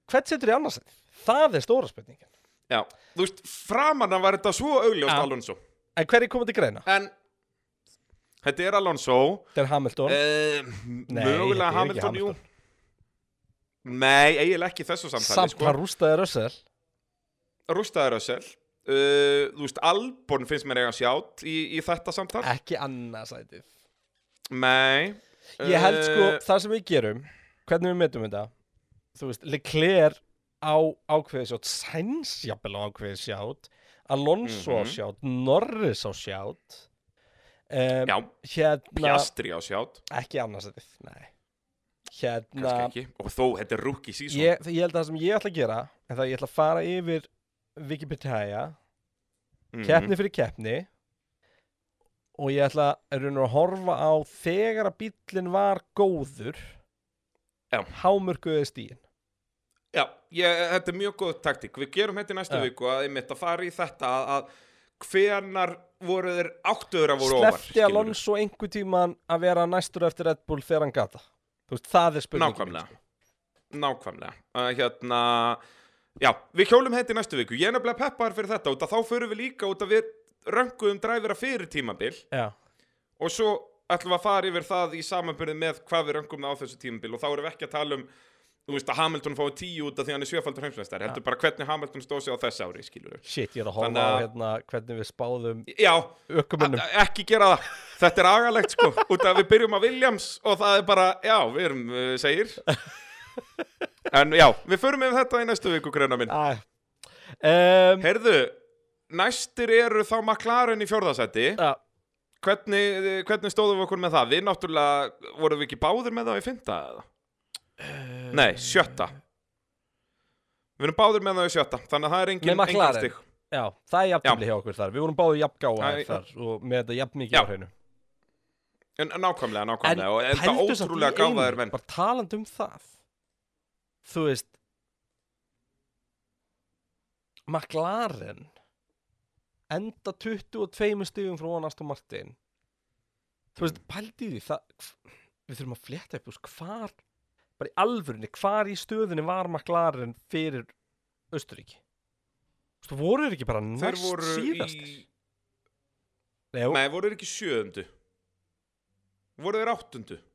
S2: hvert setur þið annars? Það er stóra spurningin.
S3: Já. þú veist, framan hann var þetta svo augljóst
S2: Já.
S3: Alonso
S2: En hverju komið til greina?
S3: en þetta er Alonso
S2: Þetta er Hamilton. Nei,
S3: uh,
S2: þetta
S3: mögulega
S2: er ekki
S3: Hamilton, jú Nei, eiginlega ekki í þessu samtali sko.
S2: Samt hann rústaði Russell.
S3: Rústaður Össel Uh, þú veist, Albon finnst mér eiga sjátt í, í þetta samtal
S2: Ekki annarsætið.
S3: Nei
S2: Ég held sko,
S3: Eh,
S2: það sem við gerum, hvernig við metum þetta, þú veist, Leclerc á ákveðisjátt, Sainz jafnvel á ákveðisjátt, Alonso á
S3: Mhm.
S2: sjátt, Norris á sjátt, um,
S3: Eh, Já,
S2: hérna,
S3: Piastri á sjátt
S2: ekki annarsætið, nei.
S3: kannski
S2: Hérna,
S3: ekki og þó, þetta er rookie season
S2: ég, það- ég held að það sem ég ætla að gera er það að ég ætla að fara yfir Wikipedia,
S3: mm
S2: keppni fyrir keppni og ég ætla að raunar að horfa á þegar að bíllinn var góður
S3: Já.
S2: hámörkuði stíin
S3: já, ég, þetta er mjög góð taktík við gerum þetta í
S2: Já.
S3: næstu viku að einmitt að fara í þetta að, að hvenar voru þeir áttuður að voru ofar
S2: slefti
S3: skilurðu.
S2: Alonso einhver tíman að vera næstur eftir Red Bull þegar hann gata þú veist, það er spurningin
S3: Nákvæmlega.
S2: sko.
S3: nákvæmlega uh, hérna, já, við hjólum þetta í næstu viku ég er nefnilega peppar fyrir þetta út að þá förum við líka út að við rönguðum dræfira fyrir tímabil
S2: já,
S3: og svo ætlum við að fara yfir það í samanbyrði með hvað við röngum það á þessu tímabil og þá erum við ekki að tala um þú veist að Hamilton fái tíu út af því að hann er sjöfaldur heimsmeistari, heldur bara hvernig Hamilton stóð sig á þess ári, skilur
S2: Shit, ég er að horfa
S3: Þannig
S2: á
S3: að-
S2: hérna hvernig við spáðum
S3: Já,
S2: ökumönnum
S3: a- a- ekki gera það Þetta er agalegt sko, út af við byrjum að Williams og það er bara, já, við erum uh, segir En já, við förum yfir þetta í næstu viku, greina minn
S2: Æ. um,
S3: Heyrðu, næstir eru þá McLaren í fjórðasæti
S2: Já.
S3: Hvernig, eh, hvernig stóðum við okkur með það? Við náttúrulega, vorum við ekki báðir með það í fynda eða?
S2: Eh,
S3: Nei, sjötta Við erum báðir með það í sjötta Þannig að það er engin,
S2: Með McLaren.
S3: engin stig
S2: Já, það er jafnvel hjá okkur þar Við vorum báði
S3: Æ,
S2: jafngáðar
S3: já.
S2: þar og með þetta jafn
S3: Já.
S2: mikið á hreinu
S3: En nákvæmlega, nákvæmlega og en það
S2: pældu samt í
S3: ótrúlega
S2: einu,
S3: gáfaðir menn
S2: Bara talandi um það Þú veist McLaren enda 22 stigum frá honast og Martin Þú
S3: Mm.
S2: veist, pældi því það, Við þurfum að flétta upp þú veist, Hvar, bara í alvörinni Hvar í stöðunni var McLaren fyrir Östuríki Þú veist, voru þeir ekki bara
S3: Þeir
S2: næst
S3: voru
S2: síðast
S3: í,
S2: Nei, jú,
S3: nei, voru þeir ekki sjöðundu Voru þeir áttundu
S2: ég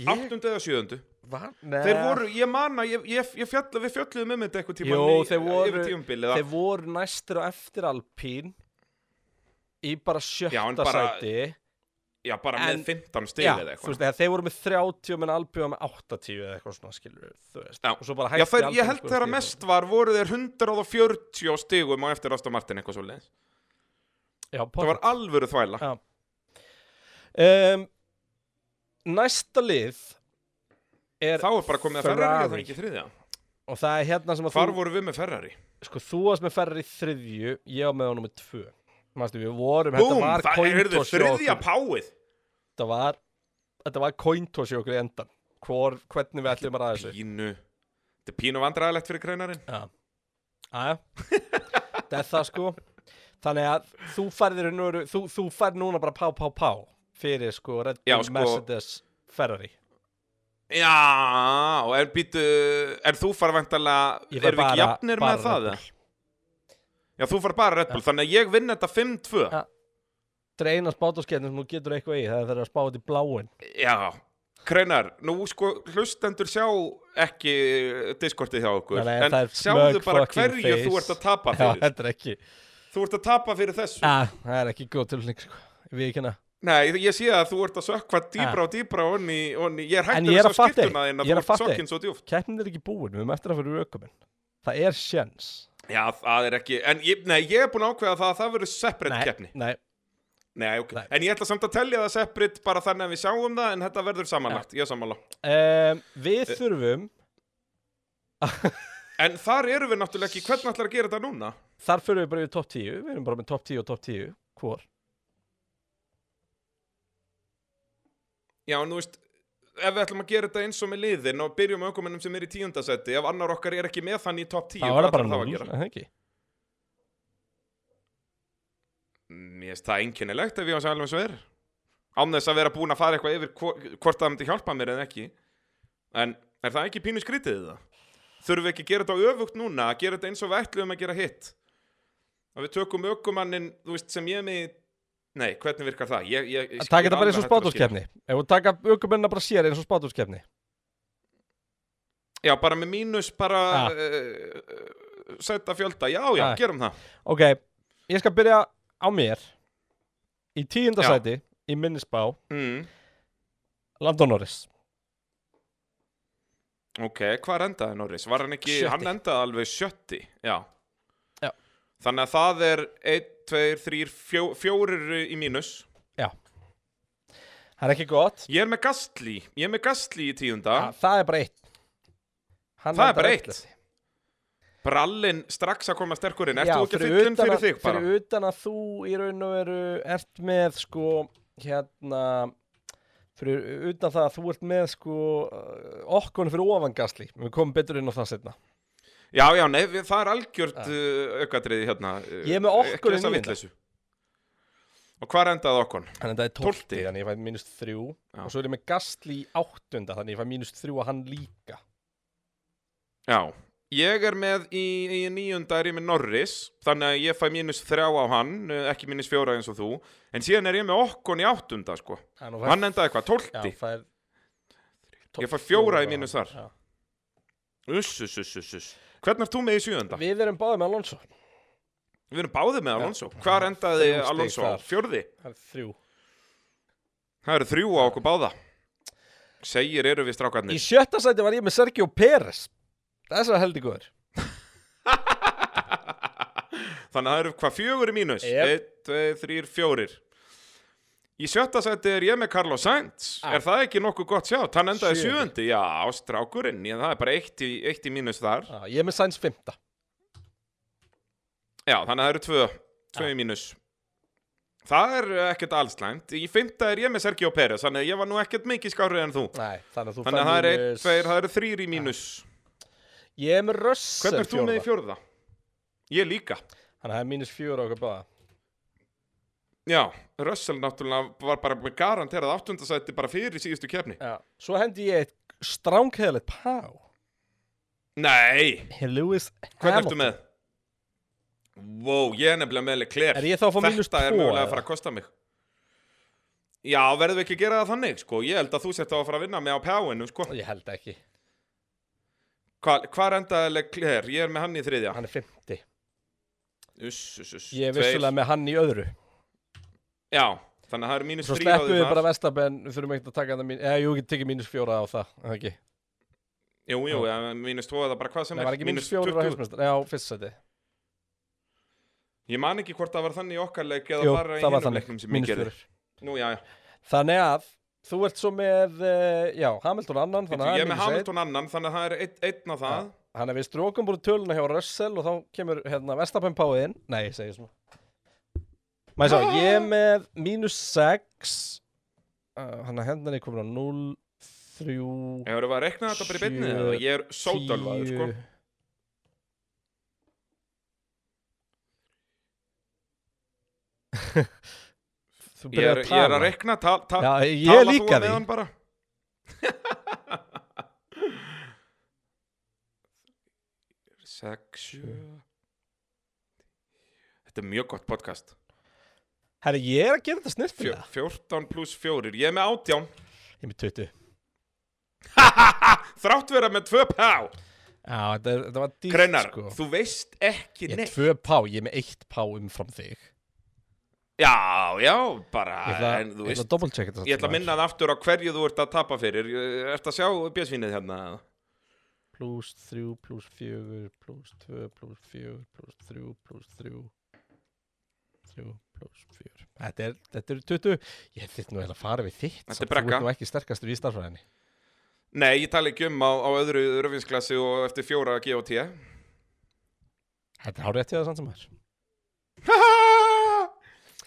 S2: Eh.
S3: Áttundu eða sjöðundu
S2: var Nei.
S3: Þeir voru, ég manna, ég, ég, ég fjalla, við fjöllum um þetta eitthvað tíma
S2: Jó, þeir voru-
S3: yfir tímabilið
S2: Þeir voru næstir og eftir Alpín í bara sjötta
S3: Já, en bara-
S2: sæti
S3: Já, bara
S2: en-
S3: með 15 stig
S2: Já,
S3: eða
S2: þú
S3: eitthvað
S2: veist, þeir voru með 30 menn Alpín var með 80 eða eitthvað svona skilur þú veist
S3: Já.
S2: og svo bara
S3: Já,
S2: hætti
S3: þeir,
S2: Alpín
S3: ég held
S2: sko
S3: þeirra
S2: stigum.
S3: mest var, voru þeir 140 stigum á eftir Aston Martin eitthvað svo leins
S2: Já,
S3: Það var alvöru þvæla
S2: Já. um, Næsta lið er
S3: Þá er bara komið að Ferrari, það er ekki þriðja
S2: og það er hérna sem að
S3: Hvar
S2: þú
S3: voru við með Ferrari?
S2: sko þú varst með ferri þriðju ég á með honum með tvö Manstu, við vorum,
S3: Búm,
S2: þetta var
S3: það er
S2: cointoss hjá
S3: þriðja
S2: okkur.
S3: páið
S2: þetta var þetta var cointoss í okkur í endan Hvor, hvernig við ætlum að ræða þessu
S3: Pínu Þetta er pínu vandræðilegt fyrir greinarinn
S2: aðja þetta er það sko þannig að þú færðir núna, þú, þú færð núna bara pá pá pá fyrir sko Red Bull
S3: Já, sko.
S2: Mercedes Ferrari
S3: Já, en býtu En þú fara vantarlega
S2: Ég
S3: Erum
S2: fær
S3: við ekki
S2: bara-
S3: jafnir
S2: bara
S3: með það?
S2: Red
S3: eða? Já, þú fara bara Red Bull Þannig að ég vinn þetta 5-2
S2: Já. þetta er eina spátaskeppni sem þú getur eitthvað í það er að spá þetta í bláin
S3: Já Kreinar, nú sko hlustendur sjá ekki diskortið hjá okkur
S2: Nei, nei,
S3: En
S2: það er
S3: sjáðu
S2: smug
S3: bara
S2: fucking
S3: hverju
S2: face.
S3: þú ert að tapa
S2: Já,
S3: fyrir
S2: þetta er ekki
S3: Þú ert að tapa fyrir þessu
S2: Já, það er ekki góð tilfning sko. við ekki hérna
S3: Nei, ég sé að þú ert að sökva dýbra og dýbra onni, onni, Ég er
S2: En
S3: hægt
S2: ég er að
S3: að sjá
S2: fatta
S3: skiptuna
S2: eitt.
S3: þinn að
S2: Ég er
S3: þú
S2: að
S3: ert
S2: fatta
S3: sokkin svo djúft
S2: keppnin er ekki búin, við höfum eftir að fyrir aukuminn það er sjens
S3: Já, það er ekki, en ég, nei, ég er búin að ákveða það að það verður separate keppni
S2: nei,
S3: Nei, ok,
S2: Nei.
S3: en ég ætla samt að telja það separate bara þannig að við sjáum það en þetta verður samanlagt, ég er sammála
S2: Um, við þurfum,
S3: En þar eru við náttúrulega ekki, hvernig ætlar að gera þetta núna?
S2: þar fyrir við bara yfir topp 10, við erum bara með topp 10 og topp 10, hvor?
S3: Já, en þú veist, ef við ætlum að gera þetta eins og með liðin og byrjum aukumennum sem er í tíundasetti ef annar okkar er ekki með þann í topp 10
S2: Það
S3: hvað
S2: var það bara
S3: ætlar að
S2: 0,
S3: gera?
S2: er það ekki?
S3: Mm, Ég veist það einkennilegt ef ég var sælum eins og er Án þess að vera búin að fara eitthvað yfir hvo- hvort það myndi hjálpa mér eða ekki En er það ekki pínu skrítið það? Þurfum við ekki að gera þetta öfugt núna að gera þetta eins og við ætluðum að gera hitt Að við tökum ökumannin, þú veist, sem ég er með í- Nei, hvernig virkar það? Ég, ég, ég
S2: Takk
S3: skil
S2: þetta bara
S3: alveg
S2: eins og
S3: hægt að skilja.
S2: spátumskeppni Ef þú taka aukumennina bara sér eins og spátumskeppni
S3: Já, bara með mínus bara
S2: Ah.
S3: uh, uh, Setta fjölda, já, já,
S2: Ah.
S3: gerum það
S2: Ok, ég skal byrja á mér Í tíunda
S3: Já.
S2: sæti Í minnisbá,
S3: mm,
S2: Landon Norris
S3: Ok, hvar endaði Norris? Var hann ekki,
S2: Sjötti.
S3: hann endaði alveg sjötti Já,
S2: Já.
S3: Þannig að það er 1, 2, 3, 4 í mínus
S2: Já Það er ekki gott
S3: Ég er með Gastli, ég er með Gastli í
S2: ja,
S3: tíunda
S2: Það er bara eitt Hann
S3: Það er
S2: endar
S3: bara eitt.
S2: 11.
S3: Brallin strax að koma sterkurinn
S2: Já,
S3: Ertu þú ekki
S2: fyrir
S3: fyllinn
S2: utan
S3: fyrir
S2: að-
S3: þig bara?
S2: Fyrir utan að þú í raun og veru ert með sko hérna fyrir utan það að þú ert með sko okkur fyrir ofan gasli við komum betur inn á það setna
S3: Já, já, nei, við, það er algjört uh, aukatriði hérna uh,
S2: Ég er með
S3: ekki
S2: okkurinn
S3: þessa
S2: í
S3: vitleysu. Og hvar endaði okkur?
S2: þannig að það er 12
S3: Tólfti.
S2: þannig ég fæ mínus 3
S3: Já.
S2: og svo er ég með gasli í áttunda þannig ég fæ mínus 3 að hann líka
S3: Já, Ég er með í, í nýjunda er ég með Norris Þannig að ég fæ mínus þrjá á hann eh, Ekki mínus fjóra eins og þú En síðan er ég með okkon í áttunda sko
S2: Hann
S3: Og Hann endaði hvað, tólti?
S2: Já, fær
S3: Ég fæ fjóra í mínus þar.
S2: Já.
S3: Uss, uss, uss, uss, uss Hvernig er þú með í sjöunda?
S2: Við erum báðið með Alonso
S3: Við erum báðið með Alonso Hvar endaði
S2: Þrjú stig
S3: Alonso?
S2: þar.
S3: Fjórði?
S2: Það er þrjú
S3: Það eru þrjú á okkur báða Segir eru við strákarnir
S2: Í sjötta sæti var ég með Sergio Pérez Þessar heldig góður
S3: Þannig að það eru hvað fjögur í mínus
S2: Yep.
S3: Einn, tveir, þrýr, fjórir Í sjötta seti er ég með Carlos Sainz
S2: Ah.
S3: Er það ekki nokkuð gott sjátt? Hann endaði
S2: Sjöundi.
S3: sjöundi, já, strákurinn Ég, það er bara eitt í, eitt í mínus þar
S2: Já, Ég er með Sainz fymta
S3: Já, þannig að það eru tvö, tvö í mínus Það er eh, ekkert allslæmt Í fymta er ég með Sergio Pérez Þannig að ég var nú ekkert mikið skárið en þú
S2: Nei, þannig að þú
S3: Þannig að
S2: fær
S3: það eru einn,
S2: mínus-
S3: tveir, það eru þrýr í mínus
S2: Ég er með Russell
S3: Hvernig er þú með í fjórða? Ég líka
S2: Þannig að það er mínus fjóra okkur báða
S3: Já, Russell náttúrulega var bara með garanterað áttundasætti bara fyrir síðustu kefni.
S2: Já. Svo hendi ég eitt strángheðalegt pá
S3: Nei,
S2: Lewis Hamilton
S3: hvernig ertu með? Wow, ég er nefnilega með Leclerc.
S2: Er ég þá að fá mínus
S3: Þetta er
S2: tvo,
S3: mögulega
S2: eða?
S3: að fara að kosta mig. Já, verðum við ekki að gera það þannig, sko. Ég held að þú sért á að fara að vinna með á pjáinu, sko.
S2: Ég held ekki
S3: Hva, hvar endaði Leclerc? Ég er með hann í þriðja.
S2: Hann er fymti
S3: Uss, uss, uss.
S2: Ég er
S3: Tveir.
S2: vissulega með hann í öðru
S3: Já, þannig að það eru mínus
S2: Svo
S3: þrýra
S2: sleppum við bara Vestapen Við þurfum ekkert að taka hann mín Eða jú, við tekið mínus fjóra á það er það ekki
S3: Jú, jú, ja, mínus tvo eða bara hvað sem
S2: Nei, var ekki mínus fjóra á
S3: 20.
S2: heimsmeistar Já, fyrst seti
S3: Ég man ekki hvort það var þannig í okkar leik eða
S2: Jú,
S3: bara í
S2: það var
S3: hinum
S2: þannig
S3: leiknum sem ég
S2: Mínus
S3: gerði.
S2: fjóra
S3: Nú, já, já.
S2: Þannig að Þú ert svo með uh, Já, Hamilton annan Þannig að
S3: Ég er með
S2: mínus einn.
S3: Hamilton annan, þannig að það er einn, einn á það.
S2: Hann er við strókum búin töluna hjá Russell og þá kemur hérna Vestapen páðið inn. Nei, ég segi svona. Mæsá, ég er með mínus 6. Uh, hann að hendan er komin á 0, 3,
S3: Ég verður að rekna þetta bara í beinni
S2: Sjö,
S3: eða ég er sótálvaður, sko.
S2: Þú
S3: Ég er,
S2: byrjar að
S3: ég er
S2: tala.
S3: að rekna, tal, tal,
S2: Já, ég
S3: tala
S2: er líka
S3: með
S2: því.
S3: hann bara. Sex, sjö. Þetta er mjög gott podcast.
S2: Herri, ég er að gera þetta
S3: Fjö,
S2: snirtilega.
S3: 14 pluss 4, ég er með 18.
S2: Ég er með 20.
S3: Þrátt vera með 2 pá.
S2: Já, þetta, er, þetta var dýrt,
S3: Krennar,
S2: sko.
S3: þú veist
S2: Ég
S3: ekki
S2: er
S3: neitt.
S2: tvö pá, ég er með eitt pá umfram þig.
S3: Já, já, bara,
S2: Ég ætla,
S3: en þú
S2: ég
S3: veist.
S2: ætla að double checka þetta.
S3: Ég ætla að minna það aftur á hverju þú ert að tapa fyrir Ég- Ertu að sjá bjöðsvinnið hérna?
S2: Plus 3, plus 4, plus 2, plus 4, plus 3, plus 3. 3, plus 4. Þetta er, þetta er 20. Ég þitt nú eiginlega að fara við þitt.
S3: Þetta
S2: samt
S3: er brekka.
S2: Þú ert nú ekki sterkastur í starfræðinni.
S3: Nei, ég tala ekki um á, á öðru röfinsklassi og eftir fjóra GOT
S2: Þetta er hárið til það samt sem það er.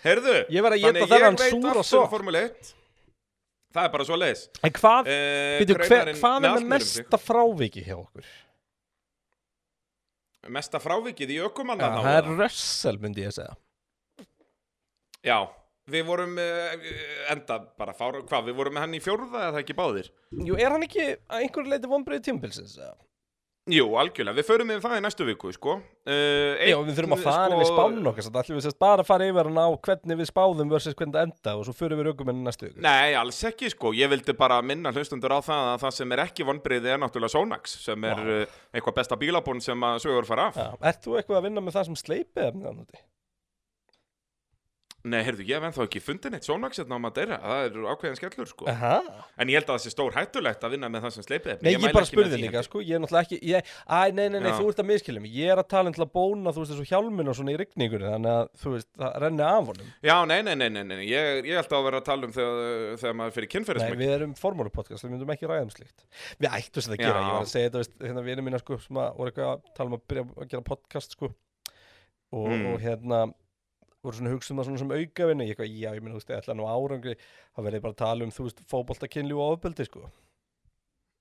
S3: Herðu
S2: Ég verð að éta
S3: þannig
S2: þennan
S3: veit
S2: súra
S3: allt um
S2: sokk.
S3: Formule 1. Það er bara svo leiðis
S2: En hvað,
S3: eh,
S2: býtu, hver,
S3: greinarinn
S2: hvað er með
S3: allt niður um sig.
S2: mesta fráviki hjá okkur?
S3: Mesta frávikið í ökumanna
S2: það er Russell, myndi ég að segja.
S3: Já, við vorum eh, enda bara fára Hvað, við vorum með hann í fjórða eða ekki báðir?
S2: Jú, er hann ekki að einhverju leiti vonbreið tímbilsins?
S3: Jú, algjörlega, við förum með það í næstu viku, sko uh,
S2: Já, við þurfum að fara
S3: sko-
S2: yfir spánun okkar, þannig ætlum við sérst bara að fara yfir hann á hvernig við spáðum versus hvernig það enda og svo förum við raukumennin næstu ykkur.
S3: Nei, alls ekki sko, ég vildi bara minna hlustundur á það að það sem er ekki vonbreiði er náttúrulega Sonax sem er
S2: Vá.
S3: wow. eitthvað besta bílabún sem að sögur fara af.
S2: Já, ert þú eitthvað að vinna með það sem sleipið efni þannig
S3: Sko,
S2: úti?
S3: Nei, heyrðu, ég hef ennþá ekki fundin eitt Sonax hérna á Madeira, það er ákveðin skellur sko.
S2: Aha.
S3: En ég held að það sé stór hættulegt að vinna með það sem sleipið efni.
S2: Nei, ég,
S3: mæli
S2: bara
S3: ekki með
S2: spurði
S3: því,
S2: líka,
S3: heldur.
S2: sko, ég er náttúrulega ekki, ég, æ, nei, nei, nei,
S3: Já.
S2: þú ert að miskilja mig, ég er að tala um til að bóna, þú veist, þessu hjálmin og svona í rigningunni, þannig að, þú veist, það renni af honum.
S3: Já, nei, nei, nei, nei, nei, nei. Ég, ég held að vera að tala um þegar, þegar maður fyrir
S2: Nei,
S3: kynferðismæk.
S2: við erum formálupodcast, við myndum ekki ræða um slíkt. Við ættum sem það að gera,
S3: Já.
S2: ég var að segja þetta, veist, hérna vinið mína, sko, sem að voru eitthvað að tala um að byrja að gera podcast, sko, og,
S3: Mm.
S2: og hérna, voru svona að hugsa um það svona sem aukavinni, ég eitthvað, já, ég minna, þú veist, ég ætla nú árangri, þá verði bara að tala um, þú veist, fótboltakinnlíu og ofbeldi, sko.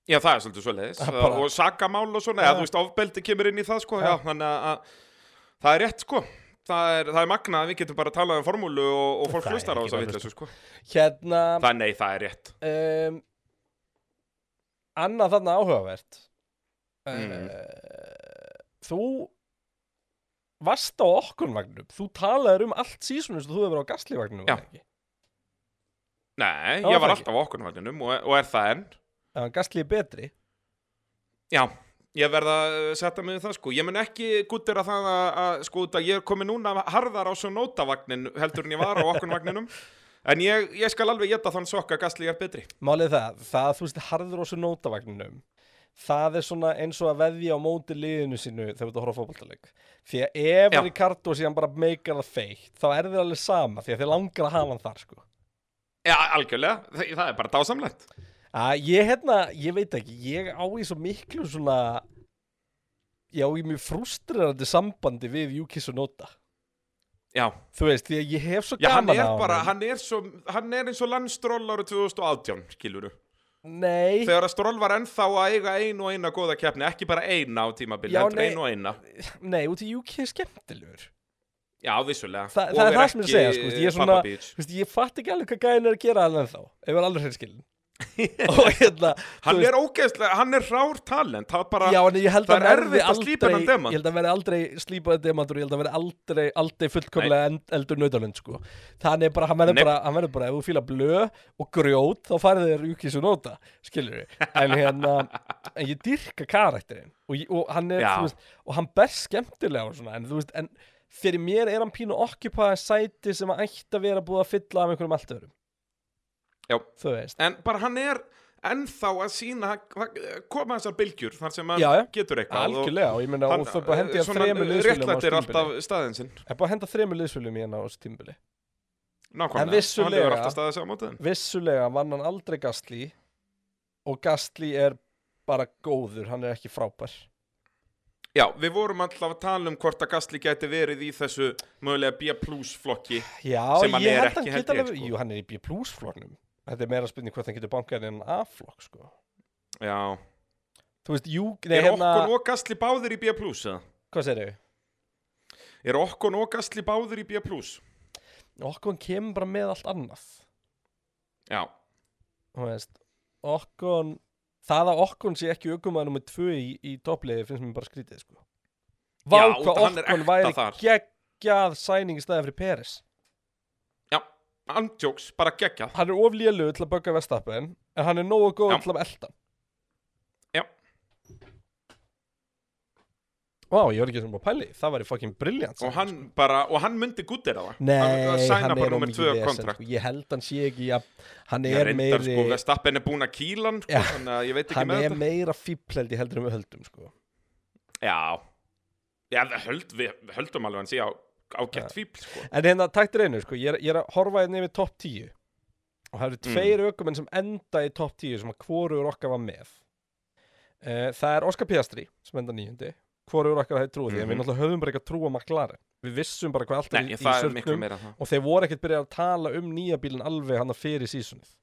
S3: Já, það er svolítið svo leiðis.
S2: Það bara-
S3: Og sakamál og svona,
S2: Já.
S3: ja. þú veist, ofbeldi kemur inn í það sko,
S2: Já.
S3: já, þannig að- að það er rétt sko. Það er, það er magna að við getum bara að um formúlu og, og fólk
S2: Það er
S3: hlustar á
S2: ekki
S3: þess að
S2: bara
S3: vitlega sko.
S2: Hérna,
S3: Það, nei, það er rétt.
S2: um, annað þarna áhugavert,
S3: Mm.
S2: uh, þú varst á okkur vagnum þú talaðir um allt sísunum sem þú hefur verið á gasli vagnum
S3: Já.
S2: ekki?
S3: Nei,
S2: Já,
S3: ég
S2: það
S3: var
S2: ekki.
S3: alltaf á okkur vagninum og, og er það enn
S2: en gasli er betri
S3: Já, ég verð að uh, setja mig við það sko Ég mun ekki guttir að það að, að sko út að ég er komið núna harðar á svo nótavagnin heldur en ég var á okkur vagninum En ég, ég skal alveg geta þann sokka að gasli er betri
S2: Málið er það, það að þú veist harður á svo nótavagninum það er svona eins og að veðja á móti liðinu sínu þegar þú horfður á fótboltaleik því að ef
S3: Já.
S2: Ricardo síðan bara meikar það feitt þá er þið alveg sama því að þið langar að hafa hann þar sko
S3: Já, algjörlega, það, það er bara dásamlegt
S2: að ég hérna, ég veit ekki ég á í svo miklu svona ég á í mjög frustrerandi sambandi við Júkis og Nóta
S3: Já,
S2: þú veist, því að ég hef svo
S3: Já hann
S2: gaman
S3: er
S2: á
S3: bara, hann er, svo, hann er eins og landstról árið 2018, skiluru
S2: nei,
S3: Þegar að stról var ennþá að eiga einu og eina góða keppni, ekki bara eina á tímabili,
S2: Já,
S3: heldur
S2: nei.
S3: einu og eina
S2: nei, út í Júki er skemmtilegur
S3: Já, vissulega
S2: Þa,
S3: Og
S2: það er
S3: er
S2: það sem ég er að
S3: ekki
S2: segja, sko, veist, ég er svona,
S3: Papa Beach.
S2: þú veist, ég fatt ekki alveg hvað gæðin er að gera alveg þá, ef ég er alveg hreinskilin og hérna,
S3: Hann er ógeðslega, hann er rár talent Það bara,
S2: já, en ég held
S3: það
S2: að
S3: er
S2: hann verði
S3: erfitt að slípa
S2: aldrei,
S3: þennan demant.
S2: ég held að verði aldrei slípaði demantur, ég held að verði aldrei, aldrei fullkomlega end, eldur nautalund, sko, þannig bara, hann verður
S3: Nei.
S2: bara, hann verður bara, ef þú fíla blöð og grjót, þá farið þér júkis og nota, skilur við, en hérna, en ég dyrka karakterinn og, ég, og hann er,
S3: Já.
S2: þú veist, og hann ber skemmtilega og svona, en þú veist, en fyrir mér er hann pínu okkupað sæti sem að ætti að vera búið að fylla af einhverjum allt öðrum
S3: Já.
S2: þú veist
S3: En bara hann er ennþá að sína koma þessar bylgjur þar sem hann
S2: Já, já.
S3: getur eitthvað og
S2: algjörlega og ég meina og þau bara hendi að þremur liðsfélum á
S3: eh, réttlættir alltaf
S2: stímbili
S3: staðin sinn
S2: það er bara að henda þremur liðsfélum í hann á stímbili
S3: Nákvæmlega,
S2: En vissulega-
S3: hann hefur alltaf staðið sig á mótiðin
S2: vissulega vann hann aldrei Gastli og Gastli er bara góður, hann er ekki frábær
S3: Já, við vorum alltaf að tala um hvort að Gasly gæti verið í þessu mögulega B plus flokki
S2: já,
S3: Sem hann
S2: ég held
S3: er ekki,
S2: hann
S3: held
S2: geta
S3: ég,
S2: alveg
S3: sko.
S2: jú, hann er í B plus floknum þetta er meira spurning hvort hann getur bankað en A-flokk sko.
S3: Já,
S2: þú veist, jú, nei,
S3: er
S2: hérna
S3: Okkon og Gasly báðir í B plus eða?
S2: hvað segir þau?
S3: Er Okkon og Gasly báðir í B plus?
S2: Okkon kemur bara með allt annað
S3: Já,
S2: þú veist, Okkon það að Okkon sé ekki aukumæður nummer 2 í, í toppliði finnst mér bara skrítið sko. Vá
S3: Já,
S2: hvað
S3: hann er
S2: Okkon
S3: ekta
S2: væri
S3: þar.
S2: geggjað sæning í staðið fyrir Peres
S3: já, andjóks, bara geggjað
S2: hann er of lélugur til að bögga vestapen en hann er nógu góð
S3: Já.
S2: til að elda hann.
S3: Já.
S2: Vá, ég var ekki sem búið að pæli það væri fucking brilljant
S3: Og
S2: sæning,
S3: hann bara, og hann myndi guttir að það
S2: sko. Nei,
S3: Að- að sæna
S2: hann
S3: bara
S2: er á
S3: númer tvö
S2: mikið vesen,
S3: kontrakt.
S2: sko. ég held hann sé ekki að hann
S3: Ég
S2: er
S3: reyndar
S2: meiri
S3: sko, Vestappen er búinn að kýla hann sko,
S2: Já.
S3: þannig að ég veit ekki
S2: hann er
S3: með þetta
S2: meira fípleldi heldur en við höldum sko.
S3: Já, já við, höld, við, við höldum alveg hann sé á, ágætt fíbl sko.
S2: En hérna, takk til einu, sko, ég er, ég er að horfa hérna yfir topp 10 og það eru
S3: Mm.
S2: tveir aukumenn sem enda í topp 10 sem að hvorugur okkar var með uh, Það er Óskar Piastri sem enda nýjundi, hvorugur okkar hefði trúið því en við
S3: Mhm.
S2: náttúrulega höfum bara ekki að trúa maklari Við vissum bara hvað allt
S3: Nei,
S2: er í, í
S3: það er miklu
S2: sörnum
S3: meira það
S2: og þeir voru ekkert byrjað að tala um nýja bílinn alveg hann að fyrir sísunnið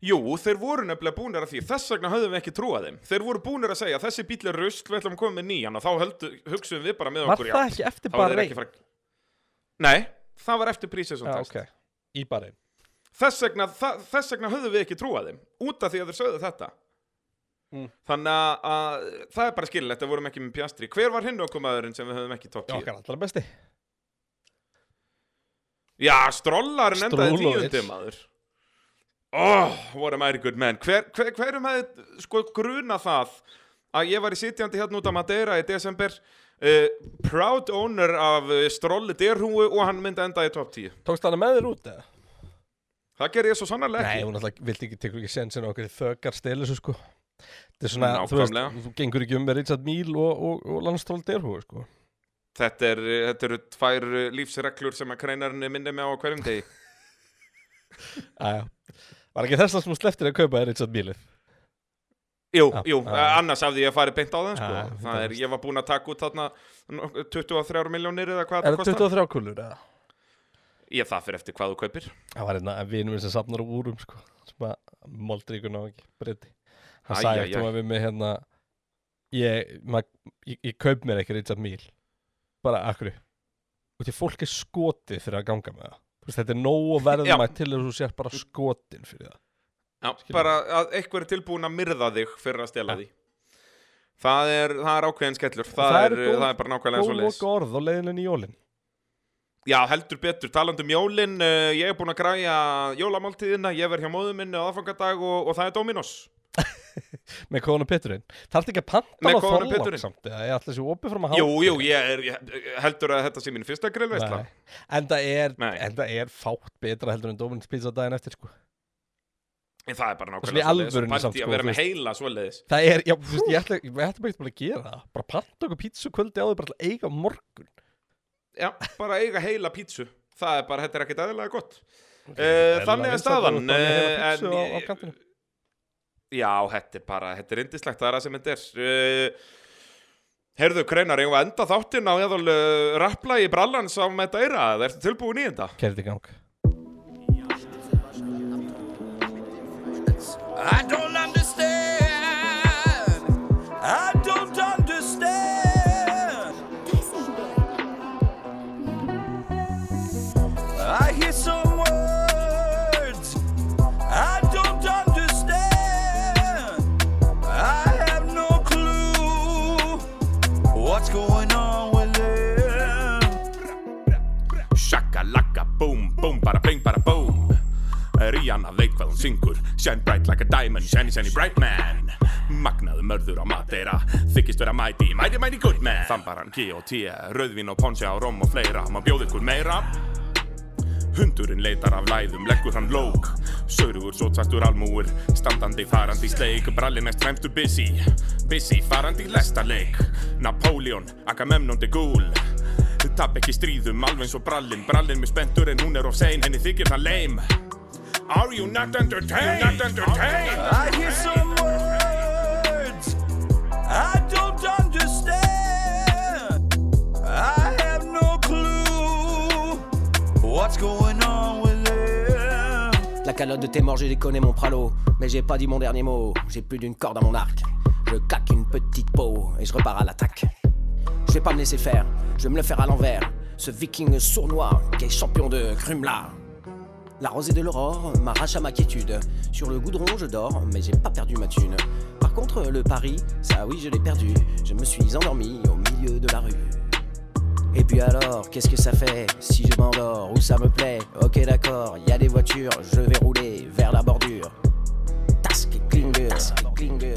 S3: Jú, þeir voru nefnilega búnir að því Þess vegna höfðum við ekki trúað þeim Þeir voru búnir að segja, þessi bíl er rusl, við ætlum að koma með nýjan Og þá höldu, hugsuðum við bara með
S2: Var
S3: okkur
S2: það ekki eftir
S3: Þá voru þeir
S2: bara
S3: ekki fara... Nei, það var eftir prísið
S2: Já, ok, í bara
S3: þess, vegna, það, þess vegna höfðum við ekki trúað þeim Út af því að þeir sögðu þetta
S2: Mm.
S3: Þannig að, að það er bara skililegt að vorum ekki með pjastri Hver var hinn okkur maðurinn sem við höfum ekki topp 10?
S2: Okkar allra besti
S3: Já, strollarinn endaði
S2: Strúlovic.
S3: tíundi maður Oh, what a mighty good man hver, hver, Hverum hefði sko gruna það að ég var í sitjandi hérna út á Madeira í desember uh, proud owner af uh, strolli derhúu og hann myndi enda í top 10
S2: Tókst hann með þér út eða?
S3: Það ger ég svo sannarlega
S2: Nei,
S3: ekki
S2: hún alltaf vildi ekki tekur ekki sensin á okkur þöggar stelur svo sko Þetta er
S3: Mm,
S2: svona, þú veist,
S3: Nákvæmlega.
S2: þú gengur ekki um með Richard Mille og, og, og landstról derhú sko.
S3: Þetta, er, uh, þetta eru tvær uh, lífsreglur sem að kreinarinn myndi með á hverjum degi
S2: Æja, var ekki þess að smú sleftir að kaupa þér Richard Mille
S3: Jú,
S2: Já,
S3: jú,
S2: já.
S3: uh, annars hafði ég farið beint á það sko.
S2: eh, Já,
S3: Það er, ég var búinn að taka út þarna nokk- 23 miljónir eða hvað
S2: Er það
S3: kostar
S2: 23 kúlur eða?
S3: Ég það fyrir eftir hvað þú kaupir
S2: Það var einna vinur minn sem safnar á úrum sko, sem að moldríkun á ekki, breyti Hann
S3: Æ, æ,
S2: sagði eftir
S3: æ.
S2: maður við mig hérna ég, mað, ég, ég kaup mér ekki Richard Mille bara akkur og því fólk er skotið fyrir að ganga með það Þú veist, Þetta er nóg og
S3: Já.
S2: verðum að til þess að þú sér bara skotin fyrir það
S3: Já, bara að eitthvað er tilbúin að myrða þig fyrir að stela því það er, það er ákveðin skellur það,
S2: Það
S3: er,
S2: eru góð-
S3: það er bara nákvæmlega
S2: Góð
S3: svo leis
S2: loka orð á leiðinu í jólin
S3: Já, heldur betur, talandi um jólin uh, ég er búin að græja jólamáltíðina ég verð hjá móðum minni á aðfangadag og, og það er Dominos
S2: Með kóðan og pitturinn Taldi ekki að panta
S3: Með
S2: á
S3: kóðan og
S2: þorlák
S3: pitturinn.
S2: samt eða Ég ætla þessi opið fram að
S3: Jú, jú, ég er, ég heldur að þetta sé mín fyrsta grillveistla
S2: Nei. En það er,
S3: Nei.
S2: en það er fátt betra heldur en Dominus pizza daginn eftir sko
S3: En það er bara
S2: Svona í
S3: nákvæmlega svoleiðis.
S2: alvörunni
S3: Og
S2: samt,
S3: partí
S2: sko,
S3: að vera
S2: þú
S3: með heila svoleiðis
S2: Það er, já, þú veist, ég ætla, ég ætla bara ekki bara að gera það Bara panta okkur pizza kvöldi á því bara til að eiga á morgun
S3: Já, bara eiga heila pítsu Það er bara, þetta er ekkert eðlilega gott Eh,
S2: Eðlilega
S3: þannig er
S2: vinsælt
S3: staðan,
S2: þú ert bara með heila
S3: eh,
S2: pizzu
S3: en-
S2: á- á kantinum.
S3: Já, þetta er bara, þetta er indislegt, það er það sem þetta er uh, Herðu, Kreinar, ég var enda þáttinn á eðal uh, rappla í brallans á með dæra Það ertu tilbúin í þetta?
S2: Keyrið í gang
S1: I don't understand. I don't understand. I hear some words. I don't understand. I have no clue what's going on with them.
S4: Shaka laka boom boom bara bing bara boom Rihanna veit hvað hún syngur Shine bright like a diamond, shiny shiny bright man Magnaðu mörður á Madeira Þykist vera mighty, mighty mighty good man Þambaran, G.O.T. Rauðvín og ponsi á rom og fleira Má bjóð ykkur meira Hundurinn leitar af læðum, leggur hann lók Saurugur, sótsartur, almúur Standandi, farandi í sleik Brallin er stræmtur busy Busy, farandi í lestarleik Napoleon, Agamemnon de Gaulle Tapp ekki stríðum, alveg eins og brallin Brallin með spentur en hún er of sein Henni þykir það lame Are you not entertained? Not entertained?
S1: I hear some words I don't understand. I have no clue what's going on with them.
S5: La calotte de tes morts, je les connais mon pralo. Mais j'ai pas dit mon dernier mot, j'ai plus d'une corde à mon arc. Je claque une petite peau et je repars à l'attaque. Je vais pas me laisser faire, je vais me le faire à l'envers. Ce viking sournois qui est champion de Krumla. La rosée de l'aurore m'arrache à ma quiétude. Sur le goudron, je dors, mais j'ai pas perdu ma thune. Par contre, le pari, ça oui, je l'ai perdu. Je me suis endormi au milieu de la rue. Et puis alors, qu'est-ce que ça fait si je m'endors ou ça me plaît Ok d'accord, y a des voitures, je vais rouler vers la bordure. Task Klinger, Klinger.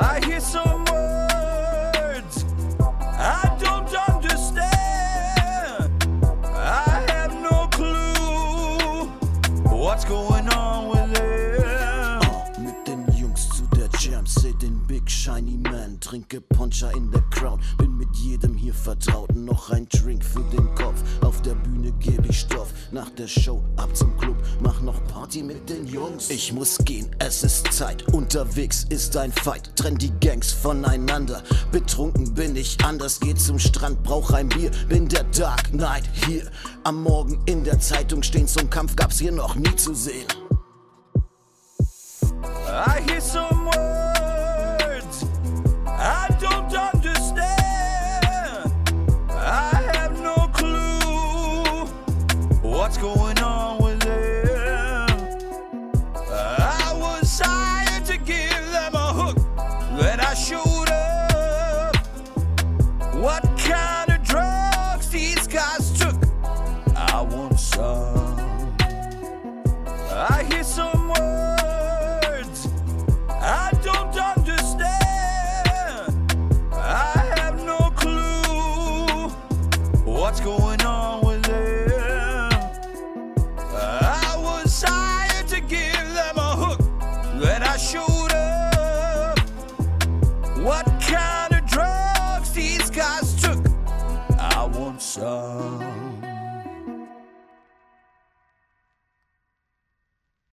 S1: I hear some words I don't understand. I have no clue what's going on with them.
S6: Mit den Jungs zu der Jam, seh den Big Shiny Man, trinke Poncha in der Crown, bin mit jedem hier vertraut, noch ein Drink für den Kopf, auf der Bühne geb ich Stoff, nach der Show ab zum Club, mach noch Party mit den Jungs. Ich muss gehen, es ist Zeit, unterwegs ist ein Fight, trenn die Gangs voneinander, betrunken bin ich anders, geh zum Strand, brauch ein Bier, bin der Dark Knight hier, am Morgen in der Zeitung stehen, zum Kampf gab's hier noch nie zu sehen.
S1: I hear some words I don't understand. I have no clue what's going on with them. I was hired to give them a hook, then I showed up. What kind of drugs these guys took? I want some. I hear some words I don't understand. I have no clue what's going on with them. I was hired to give them a hook, then I showed up. What kind of drugs these guys took? I want some.